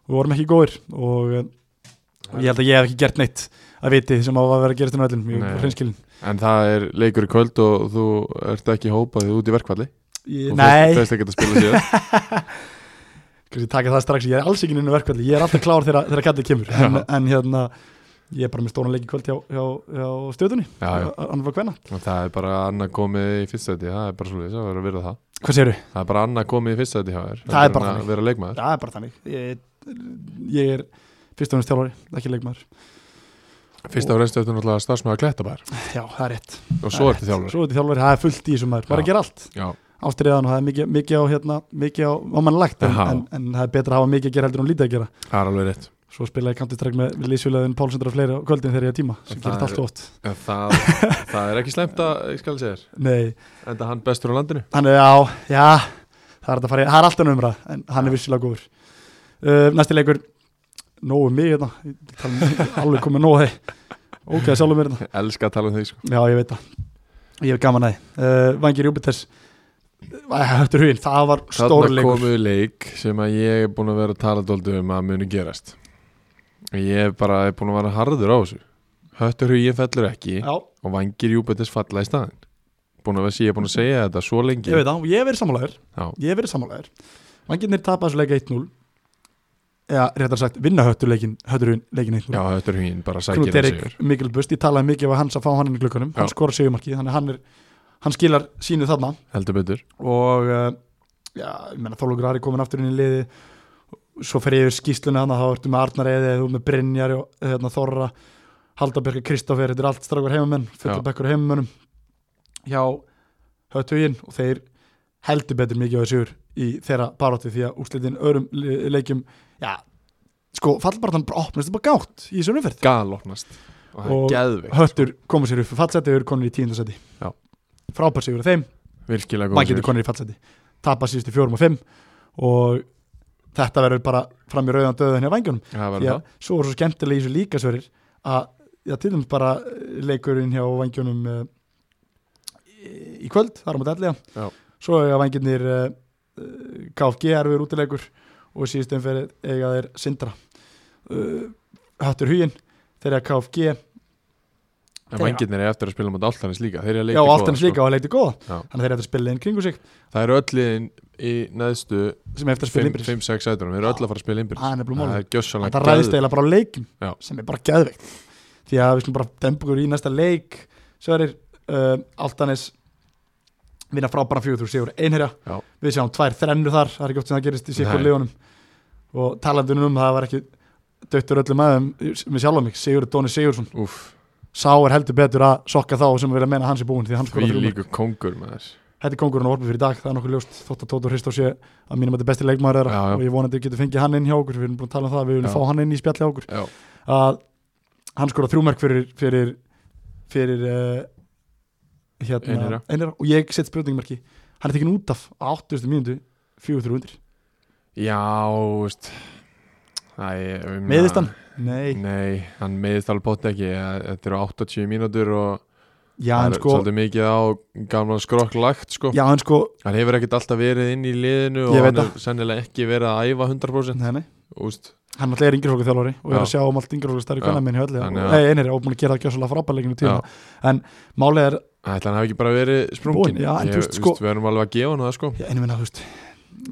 Speaker 1: Við vorum ekki góðir og eh, og ég held að ég hef ekki gert neitt að viti sem á að vera að gerast um öllum, mjög
Speaker 2: Nei.
Speaker 1: hreinskilin
Speaker 2: En það er leikur í kvöld og þú ert ekki hópað því þú ert í verkvalli
Speaker 1: Ég-
Speaker 2: og
Speaker 1: Nei,
Speaker 2: Það er ekki að spila síðan
Speaker 1: kannski taka það strax, ég er alls ekki inn í verkvalli, ég er alltaf klár þegar, þegar kallið kemur en, en hérna, ég er bara með stóran leik í kvöld hjá, hjá, hjá stjóðunni
Speaker 2: Já, já,
Speaker 1: annað var hvenna,
Speaker 2: og það er bara annað komið í fyrsta þetta Það er bara svolítið, það verður að virða það
Speaker 1: hvað segirðu?
Speaker 2: Það er bara annað komið í fyrsta þetta hjá þér
Speaker 1: Það er
Speaker 2: heldur
Speaker 1: bara
Speaker 2: en að
Speaker 1: þannig.
Speaker 2: vera leikmaður
Speaker 1: Það er bara þannig, ég, ég er fyrst og næst þjálfari, ekki leikmaður
Speaker 2: Fyrsta og reynstu eftir náttúrulega starfsmaður klettabær
Speaker 1: Já, það er rétt
Speaker 2: Og svo ertu þjálfur
Speaker 1: Svo ertu þjálfari, það er fullt í þessum maður, bara
Speaker 2: Já.
Speaker 1: að gera allt
Speaker 2: Já,
Speaker 1: ástriðan og það er mikið, mikið á hérna, mikið á, á mannlagt en,
Speaker 2: Já.
Speaker 1: en, en það er betra að hafa mikið að gera heldur en lítið að gera
Speaker 2: það er alveg rétt
Speaker 1: svo spilaði ég kantistræk með Lísjulegðin Pálsundra og fleiri á kvöldin þegar ég hef tíma sem
Speaker 2: Það
Speaker 1: gerist
Speaker 2: er-
Speaker 1: allt og oft
Speaker 2: En Það, það er ekki slemt að, ég skal segja þér
Speaker 1: Nei,
Speaker 2: En það hann bestur á landinu
Speaker 1: hann er á, já það er, hægt að fara, í- það er alltaf numra en hann er vissilega góður uh, Næsti leikur, nógu mig hérna Ég tala um- alveg komið nógu þeir ok, sjálfum mér hérna
Speaker 2: Elska að tala um þig sko
Speaker 1: Já, ég veit það, ég hef gaman að því uh, Vangir Júpiters Höttur huginn, það var
Speaker 2: Þarna
Speaker 1: stórleikur
Speaker 2: komu leik sem að ég er búin að vera að tala dóldu um að muni gerast Ég er bara er búin að vera harður á þessu Höttur hugin fellur ekki
Speaker 1: Já,
Speaker 2: og vangir Júpiters falla í staðin Búin að vera ég er búin að segja þetta svo lengi
Speaker 1: ég veit það, og ég hef verið sammálaður
Speaker 2: Já.
Speaker 1: Ég hef verið sammálaður Vangirnir tapa þessu leik 1-0 Já, réttar sagt, vinna höttur leikin Höttur huginn leikin 1-0
Speaker 2: Já, höttur hugin bara
Speaker 1: Knut
Speaker 2: sækir að
Speaker 1: Erik
Speaker 2: sigur
Speaker 1: Mikkelbust, ég talaði mikið af hans að fá hann inn í glukkanum
Speaker 2: Já.
Speaker 1: Hann skora sigumarkið, þannig að hann er Hann skilar sínu þarna
Speaker 2: Heldur betur
Speaker 1: Og, uh, já, ég menna Þólugur Ari komin aftur inn í liði Svo fer ég yfir skýsluna hann Þá ertu með Arnar Eði, þú með Brynjar og, hérna, Þorra, Haldabjörg Kristoffer Þetta er allt strákur heimamenn,
Speaker 2: Já.
Speaker 1: fullabekkur heimamennum Hjá Hötuginn Og þeir heldur betur mikið á þessu Í þeirra barótti því að úrslitin öðrum le- leikjum Já, sko, fallbarðan bara opnast bara gátt í þessum umferð
Speaker 2: Galopnast Og það
Speaker 1: Og-
Speaker 2: er geðveikt
Speaker 1: Höttur koma sér upp fallseti og eru konur í tíundasæti
Speaker 2: Já.
Speaker 1: frábær sigur að þeim,
Speaker 2: Virkilega góð
Speaker 1: maður getur
Speaker 2: sigur.
Speaker 1: konur í fallseti tapa síðustu fjórum og fimm og þetta verður bara fram í rauðan döðan hjá vangjunum,
Speaker 2: Það
Speaker 1: því
Speaker 2: verður
Speaker 1: að
Speaker 2: það
Speaker 1: svo er svo skemmtilega í þessu líka sverir að já, til dæmis bara eh, leikurinn hjá vangjunum uh, í kvöld, þar á mútið ellega
Speaker 2: Já.
Speaker 1: svo eiga eh, vangjunir uh, KFG erfiður útilegur og síðustu umferð eiga þeir Sindra uh, Höttur huginn þegar KFG
Speaker 2: En vangirnir er eftir að spila mot Altanis líka Þeir eru að
Speaker 1: Já,
Speaker 2: leika
Speaker 1: allt henni slíka og leikti góða
Speaker 2: sko. Já.
Speaker 1: Þannig að þeir eru eftir að spila inn kringu sig
Speaker 2: Það eru öll liðin í neðstu
Speaker 1: sem eftir að spila innbyrðis
Speaker 2: 5-6 sætunum Þeir eru öll að fara að spila innbyrðis
Speaker 1: Það er nefnilega
Speaker 2: Það
Speaker 1: málið
Speaker 2: er gjössalega
Speaker 1: Þetta ræðist eiginlega bara á leikum
Speaker 2: Já.
Speaker 1: sem er bara geðveikt Því að við skulum bara dembugur í næsta leik Sverir, uh, Altanes vinna frábæra fjögur þú sigur einherja
Speaker 2: Já.
Speaker 1: Við sjáum tvær þrennu þar Það er ekki oft sem það gerist í sikur
Speaker 2: Nei.
Speaker 1: legunum og talandunum um það var ekki döttur öllum aðeim með sjálfum mig Sigur Dóni Sigursson
Speaker 2: Úff,
Speaker 1: Sá er heldur betur að sokka þá sem við vilja meina hans er búin því að hann skorar
Speaker 2: við
Speaker 1: þrjú mörk.
Speaker 2: líka kongur með þess
Speaker 1: þetta er kongurinn á orfið fyrir í dag, það er nokkuð ljóst þótt að Tóta Hristó sé að mínum þetta er besti leikmaður þeirra
Speaker 2: Já, já.
Speaker 1: og ég vonandi getur fengið hann inn hjá okkur við erum búin að tala um það, við viljum
Speaker 2: Já.
Speaker 1: fá hann inn í spjalli hjá okkur
Speaker 2: Já,
Speaker 1: að hann skora þrjúmerk fyrir fyrir, fyrir uh, hérna,
Speaker 2: Einherja.
Speaker 1: og ég set spurningmarki hann er tekin út af á 80. mínútu 400
Speaker 2: já, veist Æ, um,
Speaker 1: meðist hann? Nei,
Speaker 2: Nei, hann meðist alveg bótt ekki Þetta eru 80 mínútur og
Speaker 1: já
Speaker 2: það
Speaker 1: hann
Speaker 2: er
Speaker 1: sko
Speaker 2: svolítið mikið á gamla skrokk lagt sko.
Speaker 1: já hann sko,
Speaker 2: Hann hefur ekkert alltaf verið inn í liðinu
Speaker 1: Ég
Speaker 2: og
Speaker 1: veit
Speaker 2: hann hefur sennilega ekki verið að æfa 100%
Speaker 1: nei, nei.
Speaker 2: Úst,
Speaker 1: hann alltaf er yngirfólku þjálfari og er
Speaker 2: Já.
Speaker 1: að sjá um allt yngirfólku starri
Speaker 2: Já.
Speaker 1: kannar minn hjá öllu,
Speaker 2: Þannig að-
Speaker 1: nei einir og búin að gera það gjössalega frábærleikinu tíma, málið er
Speaker 2: Ætla hann hafi ekki bara verið sprungin
Speaker 1: Búinn, já, en
Speaker 2: Ég-
Speaker 1: þú veist, sko-
Speaker 2: Við erum alveg að gefa hann það sko.
Speaker 1: Já, einu minna, þú veist,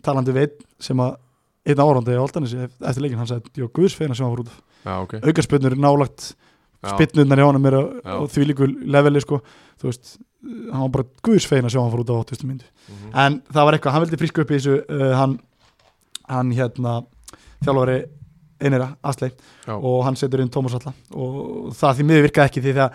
Speaker 1: talandi við einn sem að, einn árandi á Altanesi eftir leikin, hann sagði, jó, guðsfeina sem hann var út
Speaker 2: Já, ok
Speaker 1: aukarspönnur er nálagt
Speaker 2: Já,
Speaker 1: spinnurnar hjá hann er á-
Speaker 2: Já.
Speaker 1: á því líku leveli, sko, þú veist hann var bara guðsfeina sem hann var út á 80. myndu
Speaker 2: mhm.
Speaker 1: en það var eitthvað, hann vildi fríska upp í þessu uh, hann, hann hérna þjálfari einira, Asley
Speaker 2: Já.
Speaker 1: og hann setur inn Tómas Alla og það því miður virkaði ekki því þegar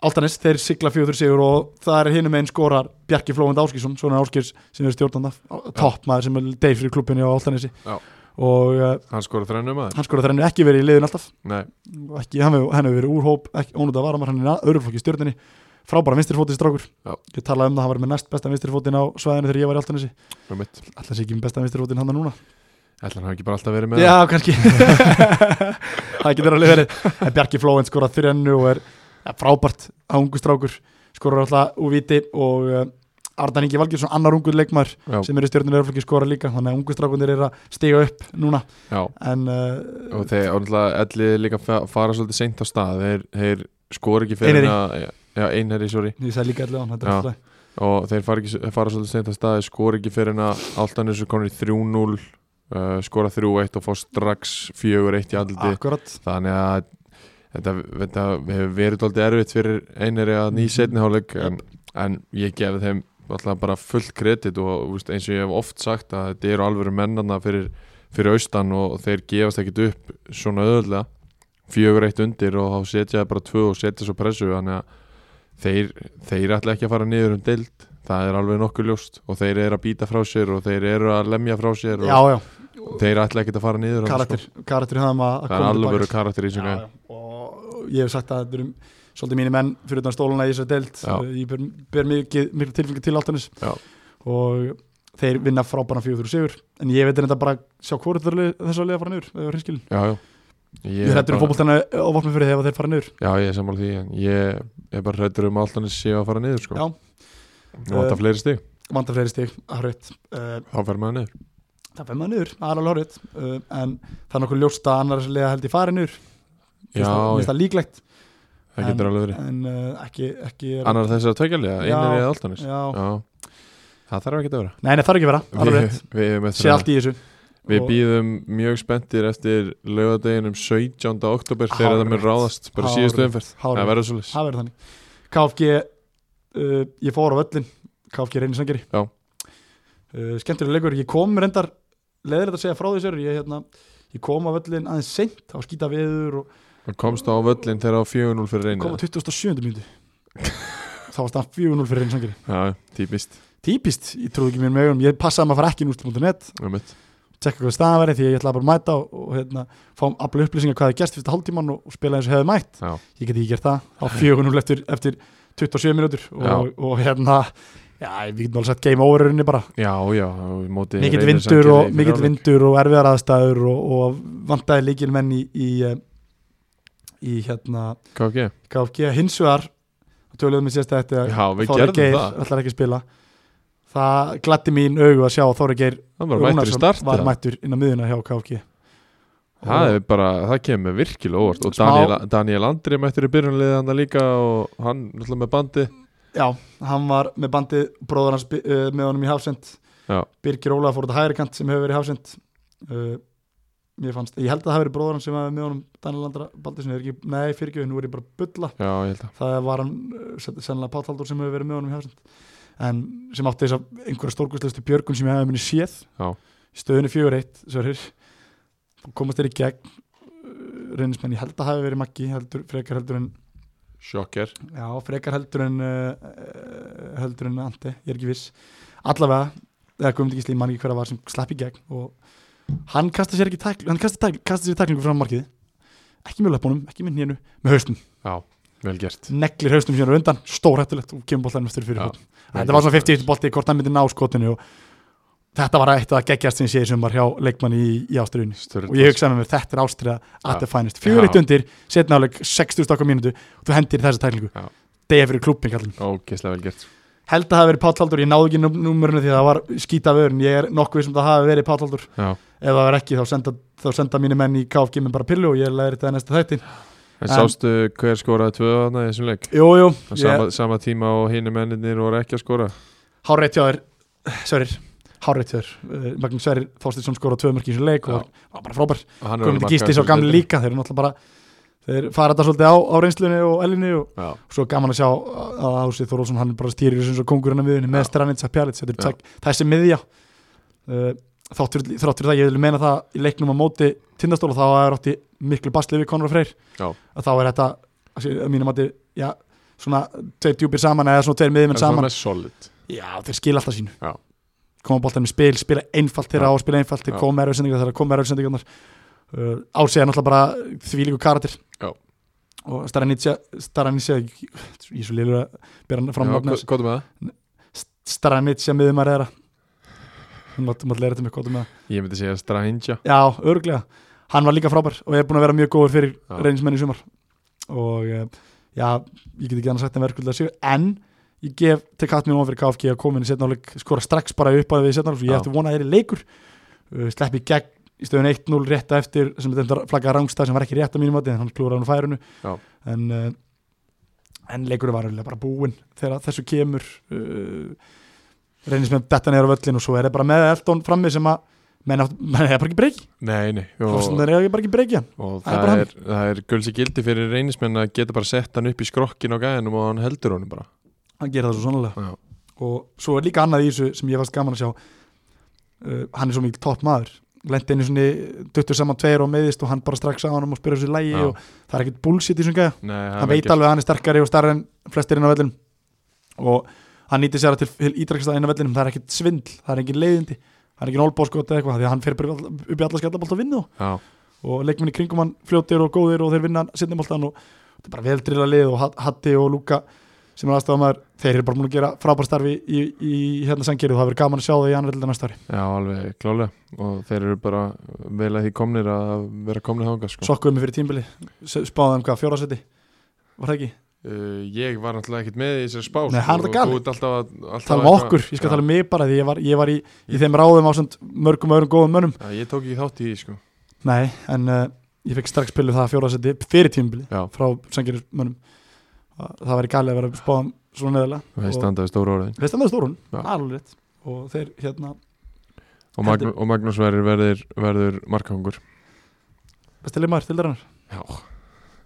Speaker 1: Altanes, þeir sigla fjóður sigur og það er hinum einn skorar Bjarki Flóvend Áskísson, svona Áskís sem er stjórnanda, toppmaður sem er deyr fyrir klubbinni á Altanesi
Speaker 2: Já.
Speaker 1: og uh,
Speaker 2: Hann skora þrennum að
Speaker 1: hann skorar þrennu ekki verið í liðin alltaf
Speaker 2: Nei,
Speaker 1: og ekki, hann hefur hann hefur verið úr hóp ekki ónútað varamar, hann er í öðruflokki í stjórninni frábæra vinstrifótið strákur
Speaker 2: Já.
Speaker 1: ég talaði um það, hann var með næst besta vinstrifótin á svæðinu þegar ég var í Altanesi
Speaker 2: um mitt
Speaker 1: Alltaf sé ekki með besta vinstrifótin hann núna
Speaker 2: Ætla hann hafi ekki bara alltaf verið með
Speaker 1: Já, kannski Það getur alveg verið En Bjarki Flóen skorað þrennu og er ja, frábært á ungu strákur skorað alltaf úr viti og uh, Ardan Ingi Valgjörsson, annar ungur leikmar
Speaker 2: já,
Speaker 1: sem er í stjórnir erflokki skora líka þannig að ungu strákundir eru að stiga upp núna
Speaker 2: já
Speaker 1: en
Speaker 2: og
Speaker 1: uh,
Speaker 2: þeir náttúrulega ellið líka fa- fara svolítið seint á stað þeir, þeir skor ekki fyrir
Speaker 1: Einherji.
Speaker 2: að já, einherri, sorry
Speaker 1: ég sagði líka allir á hann þetta er
Speaker 2: Já.
Speaker 1: alltaf
Speaker 2: og þeir fara, ekki, fara svolítið seint á stað þeir skor ekki fyrir að alltaf þessu konur í 3-0 uh, skora 3-1 og fá strax 4-1 í andliti
Speaker 1: Akkurat,
Speaker 2: þannig að þetta, þetta hefur verið alltaf erfitt fyrir einari að
Speaker 1: Mhm.
Speaker 2: nýja setniháleik en, en ég gefi þeim alltaf bara fullt kredit og þú veist, eins og ég hef oft sagt að þetta eru alvöru mennana fyrir, fyrir austan og þeir gefast ekkit upp svona öðulega fjögur eitt undir og þá setja þeir bara tvö og setja svo pressu þannig að þeir, þeir ætla ekki að fara niður um deild það er alveg nokkuð ljóst og þeir eru að býta frá sér og þeir eru að lemja frá sér og
Speaker 1: já já,
Speaker 2: þeir ætla ekkit að fara niður þarna, sko.
Speaker 1: karakter karakter hafðum að að
Speaker 2: það er
Speaker 1: koma
Speaker 2: alveg
Speaker 1: tilbaka
Speaker 2: verið karakter
Speaker 1: Já,
Speaker 2: sko. í þessu
Speaker 1: já.
Speaker 2: gæði
Speaker 1: og ég hef sagt að þetta eru svolítið mínir menn fyrir utan stóluna í þessu deilt
Speaker 2: Já.
Speaker 1: ég ber, ber mikið, miklu tilfengi til áltanis
Speaker 2: Já.
Speaker 1: og þeir vinna frábæran 4-3 sigur en ég veit þetta bara sjá hvort þess að liða fara niður eða hinskilin,
Speaker 2: Já, já Ég
Speaker 1: ég
Speaker 2: er
Speaker 1: hættur um
Speaker 2: bara-
Speaker 1: fótboltana og vopnum fyrir þegar þeir fara niður
Speaker 2: Já, ég er sammála því en Ég er bara hrættur um að alltaf séu að fara niður sko.
Speaker 1: Já.
Speaker 2: Og þetta
Speaker 1: Eh,
Speaker 2: fleiri stig,
Speaker 1: vanda fleiri stig, hárið uh,
Speaker 2: þá fer maður niður
Speaker 1: það fer maður niður, aðalega hárið uh, en það er nokkuð ljóst að annars liða held ég fara niður það,
Speaker 2: Já, já,
Speaker 1: það líklegt
Speaker 2: það getur alveg verið
Speaker 1: en uh, ekki, ekki er,
Speaker 2: Annar þessar tökjalið,
Speaker 1: Já.
Speaker 2: einir er alltaf
Speaker 1: já.
Speaker 2: Já Það þarf ekki að vera
Speaker 1: nei, nei, það er ekki vera, alveg
Speaker 2: Við,
Speaker 1: rétt
Speaker 2: við, erum eftir
Speaker 1: sé
Speaker 2: að-
Speaker 1: allt í þessu
Speaker 2: við
Speaker 1: Og-
Speaker 2: býðum mjög spenntir eftir laugardeginum 17. oktober þegar það mér
Speaker 1: Hárrétt.
Speaker 2: ráðast bara síðustu
Speaker 1: Hárrétt.
Speaker 2: umferð
Speaker 1: Hárrétt.
Speaker 2: Það verður svolítið
Speaker 1: það verður þannig KFG, uh, ég fór á völlin KFG reynir sangeri
Speaker 2: Já.
Speaker 1: uh, skemmtilega leikur, ég kom reyndar leðir þetta að segja frá því sér ég, hérna, ég kom á völlin aðeins seint á skýta veður og
Speaker 2: Og komst á völlin þegar á 4-0 fyrir
Speaker 1: kom á
Speaker 2: reyni
Speaker 1: 27. mínúti þá varst það 4-0 fyrir reynir sangeri
Speaker 2: Já, típist
Speaker 1: típist, ég trúi ekki mér með augunum ég passaði maður að fara ekki í úrstum.net
Speaker 2: einmitt.
Speaker 1: tekka hvað staðan verið því að ég ætlaði bara að mæta og, og hérna, fá alla upplýsingar hvað það gerst fyrsta hálftíman og, og spila eins og hefði mætt
Speaker 2: Já,
Speaker 1: ég get ekki gert það á 4-0 eftir, eftir 27 minútur og, og hérna já, við getum alveg sagt game over í rauninni bara
Speaker 2: já, já á móti
Speaker 1: mikill
Speaker 2: Reyni
Speaker 1: vindur,
Speaker 2: Sandgerði
Speaker 1: og,
Speaker 2: fyrir
Speaker 1: mikill
Speaker 2: áleik.
Speaker 1: vindur og erfiðar aðstæður og, og vantaði líkilmenn í, í, eh, í hérna
Speaker 2: KG
Speaker 1: KFG hins vegar um töluðum við sérst að þetta
Speaker 2: Já, við
Speaker 1: Þóri
Speaker 2: gerðum
Speaker 1: Geir
Speaker 2: það
Speaker 1: ætlar ekki að spila það glatti mín augu að sjá að Þóri Geir
Speaker 2: Hann var mættur í start
Speaker 1: var
Speaker 2: eða?
Speaker 1: mættur inn á miðuna hjá KFG
Speaker 2: Það er bara, það kemur virkilega óvart Og
Speaker 1: Smá-
Speaker 2: Daniel, Daniel Andri mættur í byrjunliðið hann líka Og hann náttúrulega með bandi
Speaker 1: Já, hann var með bandið bróður hans uh, með honum í hafsend
Speaker 2: Já.
Speaker 1: Birgir Óla fór út að hægri kant sem hefur verið í hafsend uh, Ég fannst, ég held að það hafi verið bróður hans sem hefði með honum Daniel Andra Baldursson, er ekki, nei fyrir ekki, nú er ég bara að bulla
Speaker 2: Já, ég held að
Speaker 1: Það var hann, uh, sen- sennilega Páll Haldur sem hefur verið með honum í hafsend En sem átti þess að einhverja stórkustlustu björgun sem ég hefði minni séð
Speaker 2: Já.
Speaker 1: Í stöðunni fjögur eitt, sörur Komast þeir í gegn Eh, reynismenn, ég held að hafi verið Maggi heldur, frekar heldur en
Speaker 2: Sjokker
Speaker 1: Já, frekar heldur en uh, heldur en Ante, ég er ekki viss allavega, eða Guðmund Gísli mann ekki hverja var sem slapp í gegn og hann kasta sér ekki tæklu, hann kasta, tæklu, kasta sér tæklingu fram á markið, ekki með löpunum ekki með nénu, með haustum,
Speaker 2: Vel gert
Speaker 1: neglir haustum sér á undan stórhættulegt og kemur boltanum eftir fyrir
Speaker 2: Já,
Speaker 1: hótt þetta var svona 50 bolti, hvort hann myndi ná skotinu og þetta var eitt að geggjast sem ég sé sem var hjá leikmanni í, í ástriðinu og ég hugsaði með mér, þetta er ástriða at the finest, fjögur eitt
Speaker 2: Já.
Speaker 1: undir, setna áleg 60 stakka mínútu og þú hendir í þessa tæklingu
Speaker 2: Já.
Speaker 1: degi fyrir klúpping allir
Speaker 2: Ógislega vel gert
Speaker 1: held að það hafi verið Páll Haldur, ég náði ekki nú- númerinu því að það var skýta vörn, ég er nokkuð sem það hafi verið Páll Haldur,
Speaker 2: Já.
Speaker 1: ef það verið ekki þá senda, þá senda mínu menn í KFG með bara pillu og ég læri þetta í næsta þætti
Speaker 2: En
Speaker 1: En-
Speaker 2: sástu hver skoraði tvö þarna í þessum leik
Speaker 1: Jú, jú,
Speaker 2: Á
Speaker 1: ég,
Speaker 2: sama, sama tíma og hínu menninir voru ekki að skora
Speaker 1: hárétt hjá þér Sörir, hárétt hjá þér Eh, Magnús Sörir Þorstinsson skora tvö mörk í þessum leik og var bara frábær,
Speaker 2: Hann er alveg
Speaker 1: Guðmundur
Speaker 2: markaður
Speaker 1: Gísli svo
Speaker 2: fyrir
Speaker 1: gamli
Speaker 2: deildinni.
Speaker 1: líka, þeir eru náttúrulega bara þeir fara þetta svolítið á, á reynslunni og elinni og
Speaker 2: Já,
Speaker 1: svo gaman að sjá uh, að Ási Þorólfsson hann er bara stýrir þessu eins og kongurinn að miðunni með
Speaker 2: Já.
Speaker 1: Stranitsa Pjalic, þetta er
Speaker 2: Já.
Speaker 1: tek, þessi miðja uh, þáttur, þáttur það, ég vil meina það í leiknum á móti tindastóla þá er átti miklu basli við Conor Freyr
Speaker 2: Já.
Speaker 1: að þá er þetta, að sé- að mínum að já, svona tveir djúpir saman eða svona tveir
Speaker 2: en
Speaker 1: miðjumenn
Speaker 2: það
Speaker 1: saman
Speaker 2: er solid
Speaker 1: já, þeir skila alltaf sínu
Speaker 2: Já.
Speaker 1: koma bóltan með spil, spila einfalt þeirra á, spila einfalt, þeir
Speaker 2: Já.
Speaker 1: koma erfið sendingar þeirra koma erfið sendingarnar uh, Ási er náttúrulega bara þvílíku karatir
Speaker 2: Já.
Speaker 1: og Staranitsja Staranitsja, ég er svo liður að bera hann fram
Speaker 2: Já,
Speaker 1: nafnið
Speaker 2: gott- Gott með það
Speaker 1: Stranitsja miðumar eðra hún mátt maður leira þetta með kóta með það
Speaker 2: Ég myndi segja Strahinja
Speaker 1: já, örglega, hann var líka frábær og ég er búin að vera mjög góður fyrir
Speaker 2: Já.
Speaker 1: reynismenn í sumar og eh, já, ég get ekki annað sagt en verðskulda sig en ég gef til kattminn ofan fyrir KFG að koma inn í setnáleik skora strax bara upp að við setnáleik ég
Speaker 2: Já.
Speaker 1: eftir vona að það er leikur uh, sleppi í gegn í stöðun 1-0 rétta eftir sem þetta flagga rangstað sem var ekki rétt að mínum átti en hann klúraði hann á færinu
Speaker 2: Já.
Speaker 1: en, uh, en leikurinn var eiginlega bara búinn þegar þessu kemur uh, reynist með detta neyra völlin og svo er það bara með Elton frammi sem að menn átt- menn eiga bara ekki breyki
Speaker 2: Nei, nei og,
Speaker 1: það er bara ekki breyki hann
Speaker 2: og
Speaker 1: Það er
Speaker 2: það,
Speaker 1: bara hann.
Speaker 2: er, það er gulsi gildi fyrir reynismenn að geta bara sett hann upp í skrokkin á gæðinum og hann heldur honum bara
Speaker 1: hann gerir það svo sannlega
Speaker 2: Já,
Speaker 1: og svo er líka annað í þessu sem ég fannst gaman að sjá uh, hann er svo mikil topp maður lendi einu svona duttur saman tveir og meðist og hann bara strax á hann og spyrir þessu lægi
Speaker 2: Já.
Speaker 1: og það er ekkert bullshit í þessum gæða
Speaker 2: nei, það
Speaker 1: hann veit alveg að hann er sterkari og starri en flestir inn á vellinum og hann nýtir sér að til ítrekkstað inn á vellinum það er ekkert svindl, það er engin leiðindi það er engin olbóskot eða eitthvað því að hann fer bara upp í alla skallabólt og vinna þá
Speaker 2: Já,
Speaker 1: og leikminni kringum hann fljótir og góðir og þeir vinna setnumoltan og þetta er bara veldrila lið og Hat- Hatti og Luka sem er aðstofað maður, þeir eru bara múin að gera frábær starfi í, í hérna sangeri og það verður gaman að sjá það í annar velda næsta ári.
Speaker 2: já, alveg klálega og þeir eru bara vel að því komnir að vera komnir þangað sko.
Speaker 1: Sokkuðum við fyrir tímbili, spáðum hvað, fjórasetti, var það ekki?
Speaker 2: uh, Ég var náttúrulega ekkert með í þessari spá
Speaker 1: Nei, hann er
Speaker 2: sko,
Speaker 1: þetta galið.
Speaker 2: og þú ert alltaf að- alltaf
Speaker 1: Tala um
Speaker 2: eitthvað-
Speaker 1: okkur, ég skal
Speaker 2: Já.
Speaker 1: tala um mig bara því ég var, ég var í, í þeim ráðum á mörgum öðrum góðum mönnum.
Speaker 2: Já, ég tók ekki þátt í því sko
Speaker 1: Nei, en uh, ég fekk strax pilu það fjórasetti fyrir tímbili
Speaker 2: Já,
Speaker 1: frá sangeri mönnum. Það, það væri galið að vera spáðum svona neðalega.
Speaker 2: og þeir standaði stóru orðin
Speaker 1: Þeir standaði stórun,
Speaker 2: Já.
Speaker 1: alveg rétt og þeir hérna,
Speaker 2: og, Magn, og Magnús verður, verður, verður markangur
Speaker 1: bestileg maður til dæranar
Speaker 2: Já, það er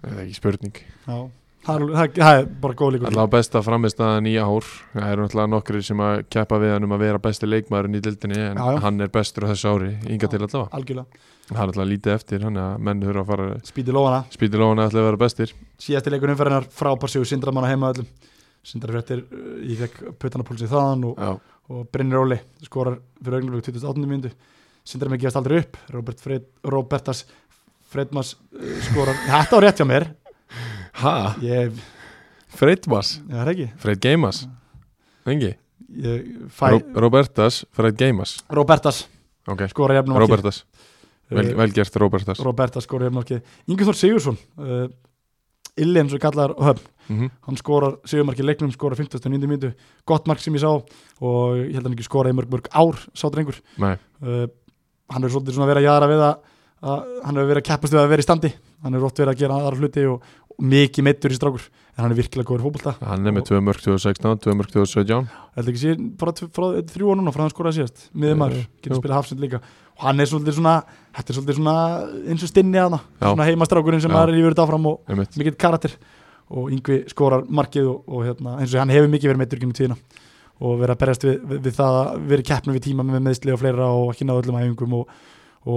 Speaker 2: Eh, ekki spurning
Speaker 1: Já, það er alveg- það er- það er bara góð líkur
Speaker 2: Alltaf besta framistæðan í ár Það eru náttúrulega nokkri sem að keppa við hann um að vera besti leikmaðurinn í dildinni en
Speaker 1: Já, já.
Speaker 2: hann er bestur á þessu ári, ynga til allavega
Speaker 1: Algjörlega,
Speaker 2: Það er alltaf lítið eftir, hann að menn þurfa að fara
Speaker 1: spýti lóana
Speaker 2: spýtilóðan ætla að vera bestir
Speaker 1: Síðasti leikur umferðinar frábær sigur sindramanna heima öllum Sindrafréttir, ég fekk puttanapúlsið þaðan og,
Speaker 2: Já,
Speaker 1: og Brynir Óli skorar fyrir augnablik 28. mínútu Sindramenn gefast aldrei upp Robert Fred, Robertas Fredmas uh, skorar Þetta var rétt hjá mér
Speaker 2: ha?
Speaker 1: Ég,
Speaker 2: Freitmas?
Speaker 1: ég er ekki
Speaker 2: Freit Geimas? Engi?
Speaker 1: ég, fæ,
Speaker 2: Ró Robertas, Freit Geimas
Speaker 1: Robertas
Speaker 2: Ok,
Speaker 1: skorar jafnum
Speaker 2: Robertas,
Speaker 1: Eh,
Speaker 2: vel, vel gert Robertas
Speaker 1: Roberta skorar hérna ekki Ingi Þór Sigursson uh, Illi eins og kallar höfn
Speaker 2: mm
Speaker 1: hann skorar Sigurmarki leiknum, skorar 59. myndu gott mark sem ég sá og ég held hann ekki skoraði í mörg mörg ár sá drengur
Speaker 2: Nei,
Speaker 1: uh, hann er svolítið svona verið að jara við að, að hann hefur verið að keppast við að vera í standi hann er rótt verið að gera aðra hluti og, og mikið meittur í strákur en hann er virkilega góður í fótbolta
Speaker 2: hann er með 2 mörg 2016, 2 mörg 2017
Speaker 1: held ekki síðan bara tv- frá eh, þrjú og núna frá hann skoraði síðast miður maður,
Speaker 2: Jú,
Speaker 1: getur
Speaker 2: Eh, jú.
Speaker 1: spilað hafsend líka og hann er svolítið svona, þetta er svolítið svona eins og stinni að
Speaker 2: Já.
Speaker 1: svona heimastrákurinn sem
Speaker 2: Já.
Speaker 1: maður er í verið áfram og,
Speaker 2: einmitt.
Speaker 1: mikill karakter og yngvi skorar markið og, og hérna, eins og hann hefur mikið verið meittur gennum tíðina og verið að berjast við, við, við það að verið keppnum við tíma með meðsli og fleira og ekki náðu öllum æfingum og,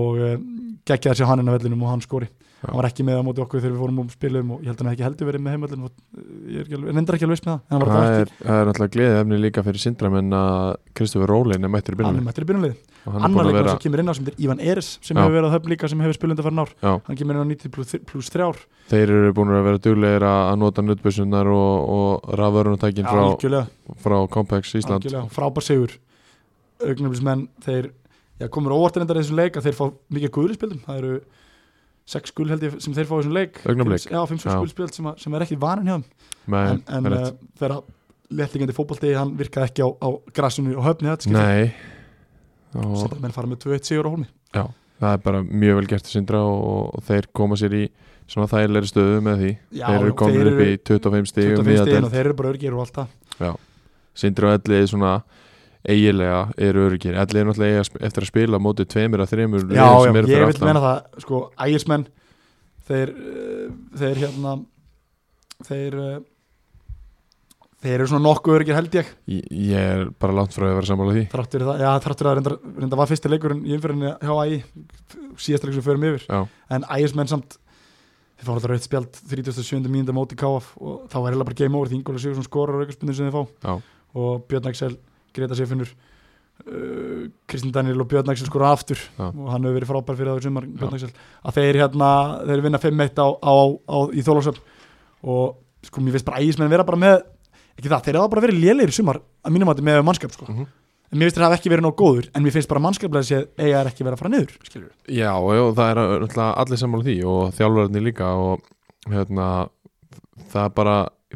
Speaker 1: og um, geggjaði sér hann inn á vellinum og hann skori
Speaker 2: Já.
Speaker 1: hann var ekki með á móti okkur þegar við fórum um spilum og ég held hann hafi ekki heldur verið með heimöllin og eh, ég er ekki alveg, reyndar ekki alveg veist með það en hann var
Speaker 2: Það
Speaker 1: það
Speaker 2: er, það er alltaf gleðið efni líka fyrir sindramenn að Kristofur Rólin er mættur í
Speaker 1: hann er
Speaker 2: byrjunni
Speaker 1: mættur í byrjunlið
Speaker 2: og hann er
Speaker 1: annar
Speaker 2: búin að
Speaker 1: leikmann
Speaker 2: vera
Speaker 1: sem kemur inn á sem er Ivan Eres sem
Speaker 2: Já.
Speaker 1: hefur verið að höfn líka sem hefur spilund að fara nár
Speaker 2: Já.
Speaker 1: hann kemur inn á 90 plus, plus 3 ár
Speaker 2: þeir eru búin að vera duglegir að að nota nutbusunar og, og raförunatækin frá,
Speaker 1: algjörlega
Speaker 2: frá Compax Ísland
Speaker 1: Algjörlega, frábær sigur augnablismenn, þeir já, komur óvart reyndar í þessum leik að þeir fá mikið guðlispildum, það eru sex gul held ég sem þeir fá í þessum leik
Speaker 2: Augnablik?
Speaker 1: Fimm- já, fimm svo
Speaker 2: Já.
Speaker 1: guðlispild sem, að- sem er ekki vanin hjá þeim
Speaker 2: Nei,
Speaker 1: en, en
Speaker 2: rétt.
Speaker 1: uh, þeirra lettingandi fótbolti hann virkaði ekki á, á grassinu og höfni þetta skipti,
Speaker 2: Nei og
Speaker 1: Sindramenn fara með 2-1 sigur á hólmi
Speaker 2: það er bara mjög vel gert að sindra og, og þeir koma sér í svona þægilegri stöðu með því
Speaker 1: Já,
Speaker 2: þeir eru
Speaker 1: já,
Speaker 2: komin
Speaker 1: þeir
Speaker 2: upp í
Speaker 1: eru
Speaker 2: 25 stígum
Speaker 1: 25 stíðin og þeir eru bara örgir og allt það
Speaker 2: sindra og ellið svona eigilega eru örgir ellið er náttúrulega eiga sp- eftir að spila á móti tveimur að þreimur
Speaker 1: já,
Speaker 2: liðum
Speaker 1: já,
Speaker 2: sem eru
Speaker 1: ég
Speaker 2: fyrir
Speaker 1: vil
Speaker 2: aftan.
Speaker 1: meina það sko, ægismenn þeir, uh, þeir hérna þeir uh, þeir eru svona nokkuð örgir held ég
Speaker 2: Ég- ég er bara langt frá að vera sammála því
Speaker 1: þrátt fyrir það, já þrátt fyrir það reyndar, reyndar var fyrsti leikurinn í umfyrinni hjá ægi síðasta leikur sem við förum yfir
Speaker 2: Já.
Speaker 1: en ægismenn samt þeir fá alltaf rauðt spjald 37. mínúnda móti KF og þá er heila bara game over því Ingóla Sigursson skorar aukarspunni sem þeir fá
Speaker 2: Já.
Speaker 1: og Björn Axel, Greta Sifinnur uh, Kristinn Daniel og Björn Axel skora aftur
Speaker 2: Já.
Speaker 1: og hann hefur verið frábær fyrir það í sumar, Björn
Speaker 2: Já.
Speaker 1: Axel að þeir hérna, þeir vinna 5-1 á, á, á, í Þólásöfn og sko mér finnst bara ægismenn vera bara með ekki það, þeir hafa bara verið lélegir í sumar að mínum að með mannskap sko
Speaker 2: Mhm.
Speaker 1: en mér finnst þeir hafa ekki verið nóg góður en mér finnst bara mannskaplega séð eiga er ekki verið að fara niður skilur.
Speaker 2: Já, já, það er náttúrulega allir sammála því og þjálfararnir líka og hérna, það er bara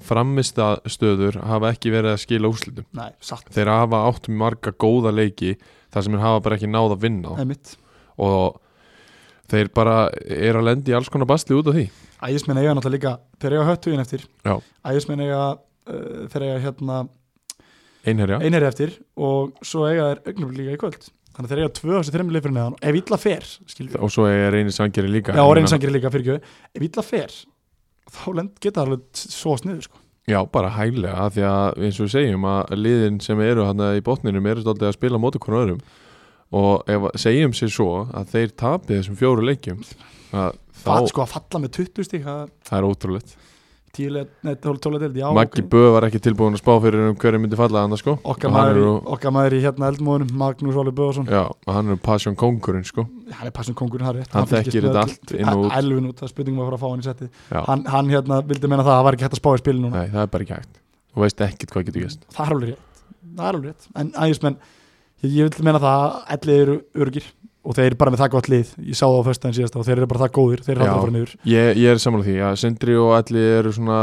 Speaker 2: framistastöður hafa ekki verið að skila úslitum
Speaker 1: Nei, satt
Speaker 2: þeir hafa átt marga góða leiki þar sem þeir hafa bara ekki náð að vinna á.
Speaker 1: Einmitt.
Speaker 2: og þeir bara er að lendi í alls konar basli út af því
Speaker 1: Ægismenn eiga náttúrulega líka Þeir eiga höttugin eftir
Speaker 2: Já.
Speaker 1: Ægismenn eiga uh, Þeir eiga hérna
Speaker 2: einherja,
Speaker 1: einherri eftir Og svo eiga þeir augnablik líka í kvöld Þannig að þeir eiga tvö af þessu þreymli fyrir neðan Ef illa fer skilur
Speaker 2: og svo er reynir sangeri líka
Speaker 1: Já,
Speaker 2: Ég
Speaker 1: og
Speaker 2: meina-
Speaker 1: reynsangir líka fyrir Ef illa fer Þá lend, geta það alveg svo sniður sko.
Speaker 2: já, bara hæglega, af því að eins og við segjum að liðin sem eru hann í botninum eru stoltið að spila á móti hvernig öðrum og ef, segjum sér svo að þeir tapi þessum fjóru leikjum að þá,
Speaker 1: Það sko að falla með 20 stík
Speaker 2: það er ótrúlegt
Speaker 1: Tíulega, já
Speaker 2: Maggi
Speaker 1: ok.
Speaker 2: Böð var ekki tilbúin að spá fyrir um hverju myndi falla hann sko
Speaker 1: Okkar
Speaker 2: Og hann
Speaker 1: maður,
Speaker 2: er
Speaker 1: í,
Speaker 2: nú-
Speaker 1: okkar maður í hérna eldmóðunum Magnús Óli Böðarsson
Speaker 2: já, og hann er passion kongurinn sko
Speaker 1: hann er passum kongurinn, hann er rétt
Speaker 2: Hann þekkir þetta allt inn og út.
Speaker 1: Elvin út, það er spurningum að fara að fá hann í setti
Speaker 2: Já.
Speaker 1: hann, hann hérna vildi meina það, það var ekki hægt að spá í spilin núna
Speaker 2: Nei, það er bara ekki hægt Þú veist ekkert hvað getur gæst
Speaker 1: það er alveg rétt, það er alveg rétt en ægismenn, ég, ég vil meina það að ellið eru örgir og þeir eru bara með það gott lið ég sá það á föstudaginn síðast og þeir eru bara það góðir þeir eru
Speaker 2: Já.
Speaker 1: hægt að fara niður
Speaker 2: ég, ég er sammála því, já, Sindri og Alli eru svona,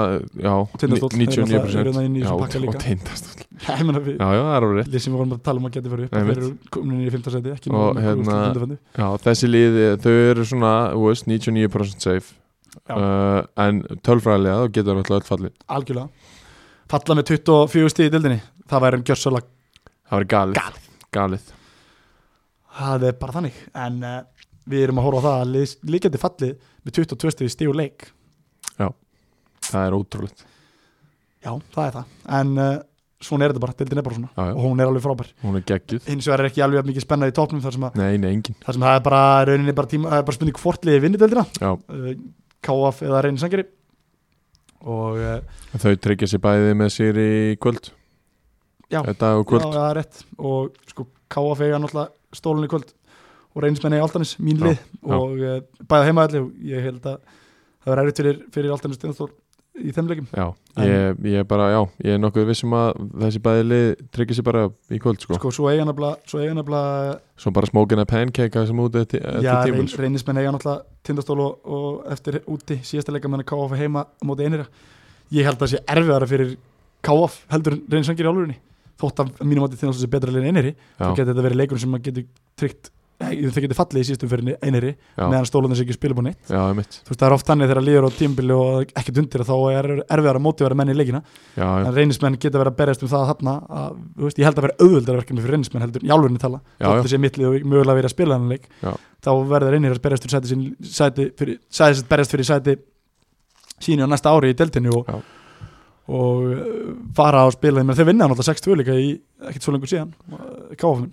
Speaker 2: já,
Speaker 1: Tindastóll,
Speaker 2: ni-
Speaker 1: þeir eru náttúrulega- þeir eru náttúrulega inn
Speaker 2: 99%
Speaker 1: í
Speaker 2: Já,
Speaker 1: þessum
Speaker 2: og
Speaker 1: pakka líka.
Speaker 2: tindastóll
Speaker 1: Já, ég meina við,
Speaker 2: Já, já, það er alveg rétt
Speaker 1: lið sem við vorum að tala um að geta farið upp
Speaker 2: Nei,
Speaker 1: þeir
Speaker 2: mitt.
Speaker 1: eru komin inn í 15 seti, ekki
Speaker 2: Og
Speaker 1: nóg með
Speaker 2: hérna-
Speaker 1: úrslitin undanfarið.
Speaker 2: Já, þessi liði, þau eru svona, þú veist, 99% safe
Speaker 1: Já.
Speaker 2: uh, En tölfræðilega, þá getur alltaf öll fallið
Speaker 1: algjörlega falla með 24 stíð í dildinni það væri um gjörsala
Speaker 2: Það verður galið Galið, galið.
Speaker 1: það er bara þannig en uh, við erum að horfa á það að lið- lið geti fallið með 22 stíð í stíð og leik
Speaker 2: Það er ótrúlegt
Speaker 1: já, það er það en uh, svona er þetta bara, dildin er bara svona
Speaker 2: Já, já.
Speaker 1: og hún er alveg frábær
Speaker 2: Hún er geggjuð
Speaker 1: hins vegar er ekki alveg jafn mikið spennað í topnum þar sem, að,
Speaker 2: Nei, nei, engin
Speaker 1: þar sem það er bara rauninni bara tíma það er bara spurning hvort liði vinni dildina
Speaker 2: Já.
Speaker 1: uh, KF eða reyni sangeri og uh,
Speaker 2: Þau tryggja sér bæði með sér í kvöld
Speaker 1: Já.
Speaker 2: Eh, Dag og
Speaker 1: já,
Speaker 2: kvöld
Speaker 1: það er rétt og sko KF eiga náttúrulega stólun í kvöld og reynismenn eiga Altanis, mín
Speaker 2: Já,
Speaker 1: lið
Speaker 2: já.
Speaker 1: og uh, bæða heimaðalli og ég held að það verður erfitt fyrir, fyrir Altanis Steinstól í þeim leikum
Speaker 2: Já,
Speaker 1: En-
Speaker 2: ég, ég bara, já, ég er nokkuð vissum að þessi bæði lið tryggja sér bara í kvöld, sko.
Speaker 1: sko, svo eiga nafnilega svo eiga nafnilega,
Speaker 2: Svo bara smókina pancake sem út eftir, sko.
Speaker 1: já,
Speaker 2: eftir tímul,
Speaker 1: reyn, reynismenn eiga náttúrulega tindastól og, og eftir úti síðasta leika meðan KF heima á móti einira ég held að það sé erfiðara fyrir KF heldur en reynisangir í álfurinni þótt að mínum átti tindastól sé betra leik en einiri þá
Speaker 2: já,
Speaker 1: getur þetta verið leikur sem maður getur tryggt þeir getur fallið í síðustum fyrir einiri
Speaker 2: já,
Speaker 1: meðan stólunar sé ekki spila búin
Speaker 2: já, mitt,
Speaker 1: þú veist það er oft þannig þegar líður á tímbili og ekkert undir þá er erfiðar að mótivera menn í leikina
Speaker 2: já, já,
Speaker 1: en reynismenn geta verið að berjast um það að þarna að, þú veist, ég held að vera auðvöldar verkefni fyrir reynismenn heldur, í alvegni tala,
Speaker 2: Já,
Speaker 1: þótt
Speaker 2: já.
Speaker 1: þessi mittlið og mögulega verið að spila hann leik
Speaker 2: Já.
Speaker 1: þá verður reynir að berjast fyrir sæti, sín, sæti fyrir, sæti, berjast fyrir sæti síni á næsta ári í deltinu og,
Speaker 2: Já.
Speaker 1: og uh, fara að spila þeim, þeir vinna náttúrulega 6-2 líka í ekkert svo lengur síðan káfum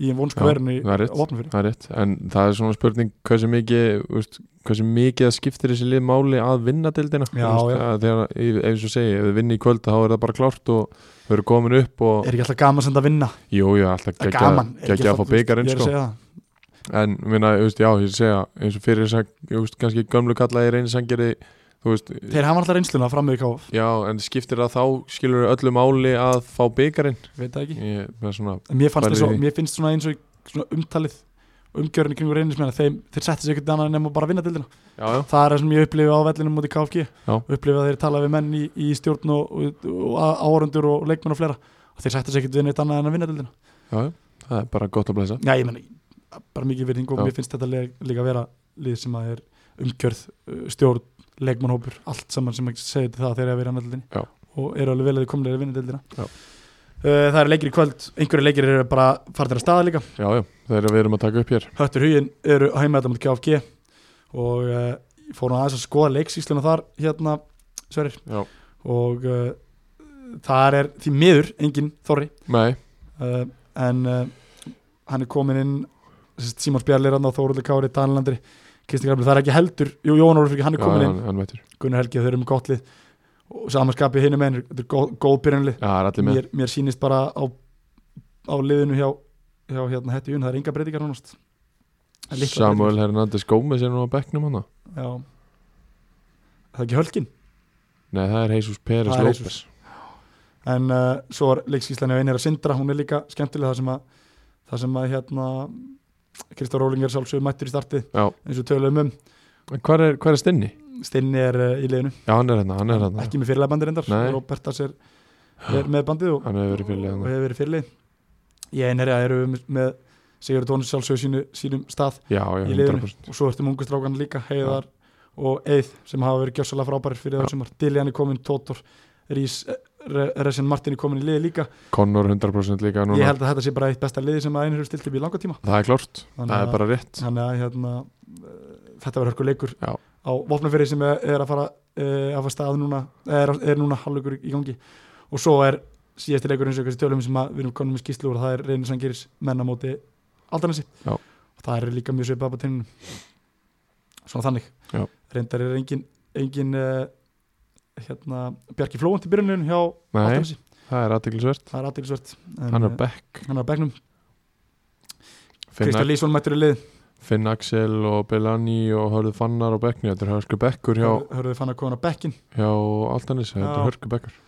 Speaker 1: í
Speaker 2: Já,
Speaker 1: vonsku verðinu
Speaker 2: það er rétt.
Speaker 1: á opnum fyrir
Speaker 2: það er rétt. En það er svona spurning hversu mikið, veist, hversu mikið það skiptir þessi lið máli að vinna deildina.
Speaker 1: Já,
Speaker 2: Þú veist,
Speaker 1: já.
Speaker 2: að Þegar, ef- ef svo segi, ef þið vinni í kvöld, þá er það bara klárt og þau eru komin upp og,
Speaker 1: er ekki alltaf gaman sem það vinna,
Speaker 2: jú, jú, alltaf
Speaker 1: það er
Speaker 2: geggja,
Speaker 1: gaman Er ekki
Speaker 2: geggja að
Speaker 1: alltaf-
Speaker 2: fá
Speaker 1: þú veist, ég
Speaker 2: byggarinn,
Speaker 1: er að
Speaker 2: sko.
Speaker 1: segja það.
Speaker 2: En minna, veist, já, ég segja, eins og fyrir þess að, veist, kannski gömlu kallaði reynisangeri, þú veist,
Speaker 1: Þeir hafa alltaf reynsluna fram með KF
Speaker 2: já, en skiptir það þá skilur öllu máli að fá byggarinn?
Speaker 1: Veit það ekki
Speaker 2: Ég, með svona,
Speaker 1: En Mér, fannst
Speaker 2: Farðu
Speaker 1: eins og,
Speaker 2: í því.
Speaker 1: mér finnst svona eins og í- svona umtalið og umgjörinu kringur reynismenn að þeim, þeir settu sér ekkert annað nema bara að vinna dildina
Speaker 2: já, já,
Speaker 1: Það er það sem ég upplifi á vellinum mútið KFG
Speaker 2: Já.
Speaker 1: upplifi að þeir tala við menn í, í stjórn og, og, og áhörundur og leikmenn og fleira og þeir settu sér ekkert við neitt annað en að vinna dildina
Speaker 2: já, já, það er bara gott að blæsa
Speaker 1: Já, ég menn, bara mikið virðing og
Speaker 2: Já.
Speaker 1: mér finnst þetta lega, líka vera lið sem að er umgjörð, uh, stjórn, leikmannhópur allt saman sem að segja til það að þeir eru að vera
Speaker 2: Já.
Speaker 1: annardeldinni og eru alveg vel að þeir komlega að vinna deildina
Speaker 2: Já.
Speaker 1: uh, Það eru leikir í kvöld, einhverju leikir eru bara farðir að staða líka,
Speaker 2: Já, já, þegar við erum að taka upp hér
Speaker 1: höttur hugin eru heima þetta mútið KFG og uh, ég fór nú aðeins að skoða leiksísluna þar hérna, Sverrir
Speaker 2: Já.
Speaker 1: og uh, þar er því miður engin þorri
Speaker 2: Nei,
Speaker 1: uh, en uh, hann er komin inn sérst, Simon Spjarlir hann og Þóruldur Kári Danlandri Kristi Grafli, það er ekki heldur Jú, Jón Ólfur, hann er
Speaker 2: já,
Speaker 1: komin inn
Speaker 2: hann, hann veitur Já,
Speaker 1: Gunnar Helgi, þau eru með gott lið og samanskapið hinum einn, þetta er góð, góð byrjanlið
Speaker 2: það er allir með
Speaker 1: mér, mér sýnist bara á, á liðinu hjá, hjá hérna, hætti Jún, það er enga breytingar hannast
Speaker 2: Samuel Hernandez Gómez er nú á bekknum hana
Speaker 1: Já Það er ekki hölkin
Speaker 2: Nei, það er Jesus Pérez
Speaker 1: Það er
Speaker 2: López
Speaker 1: Jesus. En uh, svo er leikskíslan hjá einir að sindra Hún er líka skemmtilega það sem að Það sem að hérna Kristó Róling er sálsögum mættur í startið
Speaker 2: Já.
Speaker 1: Eins og töluðum um
Speaker 2: En Hvar er, hvar er Stinni?
Speaker 1: Steinni er uh, í liðinu,
Speaker 2: Já, hann er hérna, hann er hérna
Speaker 1: ekki með fyrirlega bandi reyndar
Speaker 2: Nei.
Speaker 1: Róbertas er, er með bandið og,
Speaker 2: Hann hefur verið fyrir
Speaker 1: og
Speaker 2: liðan
Speaker 1: hefur verið fyrirlið Ég einherja eru með- með Sigur Tónus sjálfsög sínu, sínum stað
Speaker 2: Já, já,
Speaker 1: í liðinu
Speaker 2: 100%
Speaker 1: og svo ertu með ungu strákan líka heiðar og eið sem hafa verið gjössalega frábærir fyrir
Speaker 2: Já.
Speaker 1: það sumar Diljan er komin, Tótor, Rís Re- Resen Martin er komin í liði líka
Speaker 2: Connor 100% líka
Speaker 1: ég
Speaker 2: núna
Speaker 1: held að þetta sé bara eitt besta liði sem að einhverjum stilt upp í langa tíma
Speaker 2: Það er klárt, það er bara rétt
Speaker 1: þannig að hérna, eh, þetta var hörku leikur
Speaker 2: Já.
Speaker 1: á Vopnafyrir sem er, er að fara uh, af að stað núna, er, er núna halvleikur í gangi og svo er síðasti leikur eins og þessi tölum sem að við erum konum með skýslu og það er reynir sangiris menna móti aldanesi
Speaker 2: Já.
Speaker 1: og það er líka mjög svipað á tenninu svona þannig
Speaker 2: Já.
Speaker 1: reyndar er engin, engin uh, hérna, Bjarki Flóant í byrjunum hjá
Speaker 2: Nei,
Speaker 1: aldanesi,
Speaker 2: það er aðtiklisvert
Speaker 1: það er aðdeglisvert
Speaker 2: Hann
Speaker 1: eh,
Speaker 2: er á bekk
Speaker 1: hann er á begnum,
Speaker 2: Finn,
Speaker 1: Kristján Lísson mættur í lið
Speaker 2: Finn Axel og Belani og Hörðu Fannar á bekkni Þetta er hörku bekkur hjá,
Speaker 1: hörðu hörðu fann að koma á bekkin
Speaker 2: hjá Altanis Þetta
Speaker 1: Já.
Speaker 2: er hörku bekkur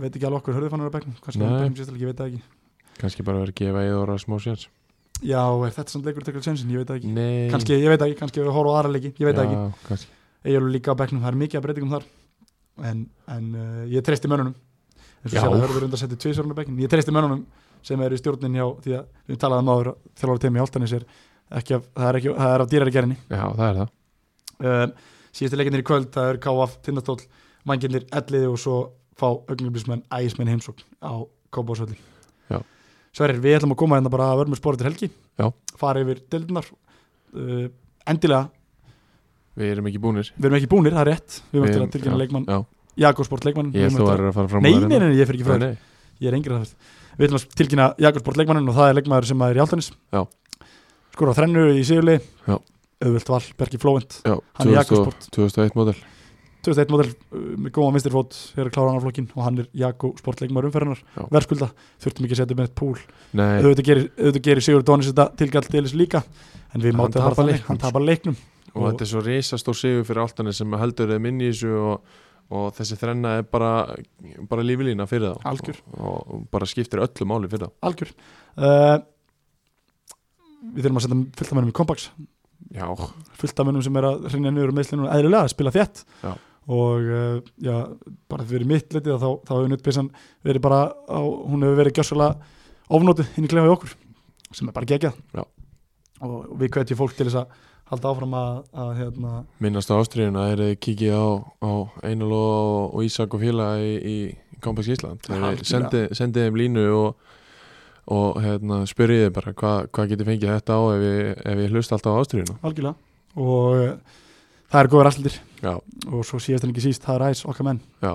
Speaker 1: veit ekki alveg okkur hörðu fann að bekkin kannski
Speaker 2: Nei.
Speaker 1: hann bekkin sérstaklega, ég veit það ekki
Speaker 2: Kannski bara verið að gefa Eðora smá séns
Speaker 1: já, er þetta samt leikur að tekla sensin, ég veit það ekki
Speaker 2: Nei
Speaker 1: kannski, ég veit það ekki, kannski við horfum á aðra leiki ég veit það ekki,
Speaker 2: Já, kannski
Speaker 1: ég er líka á bekknum, það er mikið að breytingum þar en, en uh, ég treysti mönnunum eins og
Speaker 2: Já.
Speaker 1: sér að hörður undan setja tvisvarun á bekkin ég treysti mönnunum sem eru í stjórnin hjá því að við talaðum áður að þjálfur teimi í áltanis er ekki af, það er ekki, það er af dýrari gerinni
Speaker 2: Já, það er það
Speaker 1: um, síðustu leikinir í kvöld, það er KF Tindastóll, mannginnir elliði og svo fá augnablismenn ægismenn í heimsókn á Kópásvöldi
Speaker 2: Já.
Speaker 1: Sverir, við ætlum að koma hérna bara að verðum spóra til helgi
Speaker 2: Já.
Speaker 1: fara yfir deildunar uh, endilega,
Speaker 2: Við erum ekki búnir
Speaker 1: við erum ekki búnir, það er rétt við erum
Speaker 2: Við
Speaker 1: eftir
Speaker 2: erum-
Speaker 1: að tilkynna
Speaker 2: já,
Speaker 1: leikmann,
Speaker 2: já.
Speaker 1: Jakobsport leikmann
Speaker 2: Ég held þú er að fara fram
Speaker 1: Nei,
Speaker 2: úr
Speaker 1: nei,
Speaker 2: hérna.
Speaker 1: nei, ég fer ekki frá
Speaker 2: Nei,
Speaker 1: þér
Speaker 2: nei.
Speaker 1: Ég er engri að það Við ætlum að tilkynna Jakobsport leikmannin og það er leikmaður sem er í áltanis
Speaker 2: Já.
Speaker 1: Skora þrennu í sigurli
Speaker 2: Já.
Speaker 1: Öðvöld val, Bergi Flóent
Speaker 2: Já,
Speaker 1: Hann er Jakobsport
Speaker 2: 2001 módel
Speaker 1: 2001 model uh, með góðan vinstir fót er að klára annar flokkin og hann er Jakko sportleikmaður umferðarnar
Speaker 2: Já.
Speaker 1: verðskulda, þurftum ekki að setja upp með eitt púl
Speaker 2: Nei,
Speaker 1: auðvitað gerir, auðvitað gerir Sigur Dónis þetta tilgælt delis líka en við
Speaker 2: Hann
Speaker 1: mátum bara
Speaker 2: tapar
Speaker 1: þannig,
Speaker 2: leiknum,
Speaker 1: hann tapar leiknum
Speaker 2: og, þetta er svo risastór sigur fyrir áltanir sem heldur þeim inn í þessu og, og þessi þrenna er bara, bara lífilína fyrir þá
Speaker 1: Algjör.
Speaker 2: og, og bara skiptir öllu máli fyrir þá
Speaker 1: algjör uh, við þurfum að setja fullt af mönnum í kompaks
Speaker 2: Já,
Speaker 1: fullt af mönnum sem er að hrinja niður um meðslinu og eðlilega að spila þétt
Speaker 2: Já.
Speaker 1: og uh, já, bara fyrir mitt litið þá, þá hefur nutbissan verið bara á, hún hefur verið gjössulega ofnótið inn í klefa í okkur sem er bara gegjað
Speaker 2: Já.
Speaker 1: og og við kveitjum fólk til þess að halda áfram að, að hérna,
Speaker 2: minnast á ástriðuna er þið kikið á, á Einarló og, og Ísak og félaga í, í Kompaks Ísland
Speaker 1: Algjörlega.
Speaker 2: Þeir sendi, sendið þeim línu og, og hérna, spyrjið þeim bara hvað hva getið fengið þetta á ef ég, ef ég hlust alltaf á ástriðuna
Speaker 1: algjörlega og uh, það er góður alltir
Speaker 2: Já,
Speaker 1: og svo síðast en ekki síst, það er æs okkar menn
Speaker 2: já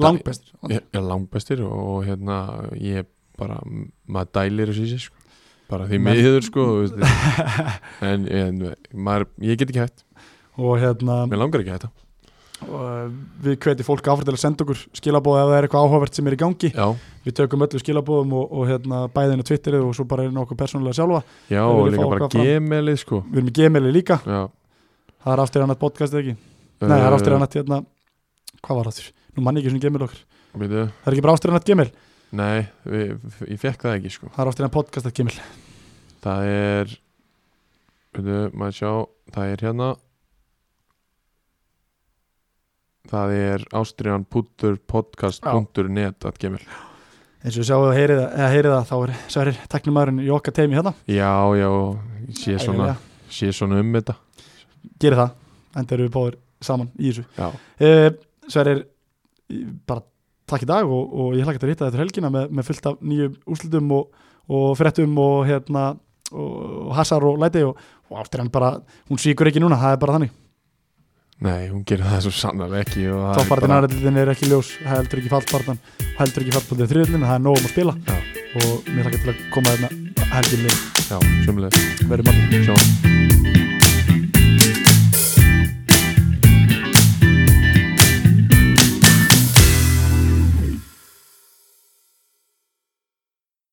Speaker 1: langbestir,
Speaker 2: Já, já, langbestir og, og hérna ég bara, m- maður dælir þessu í sér sko. bara því
Speaker 1: Men-
Speaker 2: miður sko þú veist, en, en maður, ég get ekki hægt,
Speaker 1: og hérna
Speaker 2: mér langar ekki að hætta
Speaker 1: og, uh, við kveitjum fólk áfram til að senda okkur skilabóð ef það er eitthvað áhugavert sem er í gangi
Speaker 2: Já,
Speaker 1: við tökum öllu skilabóðum og, og hérna, bæðin á Twitterið og svo bara einu okkur persónulega sjálfa
Speaker 2: já
Speaker 1: Þau
Speaker 2: og
Speaker 1: vilja
Speaker 2: líka
Speaker 1: fá
Speaker 2: bara
Speaker 1: okkar fram.
Speaker 2: gemelið sko
Speaker 1: við erum í Gmaili líka,
Speaker 2: já, eh,
Speaker 1: það er aftur annað podcastið ekki nei, það er aftur
Speaker 2: hann
Speaker 1: annað hérna, hvað var aftur, nú mann ég ekki svona Gmail okkur
Speaker 2: Býtu,
Speaker 1: það er ekki bara aftur annað Gmail,
Speaker 2: Nei, við, ég fekk það ekki sko
Speaker 1: það er aftur annað podcastið Gmail
Speaker 2: Það er Býtu, maður sjá, það er hérna Það er ástriðan.podcast.net að gemil
Speaker 1: eins og við sjáum að heyrið það, eða heyrið það þá er Sverrir teknumæðurinn í okkar teimi hérna
Speaker 2: Já, já, ég sé svona,
Speaker 1: Ægilega.
Speaker 2: sé svona um þetta
Speaker 1: gerir það, enda erum við báðir saman í þessu
Speaker 2: Já,
Speaker 1: Eh, Sverrir, í- bara takk í dag og, og ég hlakka til að hitta þetta helgina með, með fullt af nýjum úrslutum og, og fréttum og hérna og, og hasar og læti og, og áttir hann bara, hún svíkur ekki núna, það er bara þannig
Speaker 2: nei, hún gerir það svo sannarlega ekki og það er
Speaker 1: toppartin
Speaker 2: bara-
Speaker 1: aðrættin er ekki ljós, heldur ekki fallpartan heldur ekki fallpartin þriðlinn, það er nóg um að spila
Speaker 2: Já.
Speaker 1: hérna og mér hlakka til að koma þarna helginni,
Speaker 2: Já, sömulega,
Speaker 1: verður mann
Speaker 2: sjá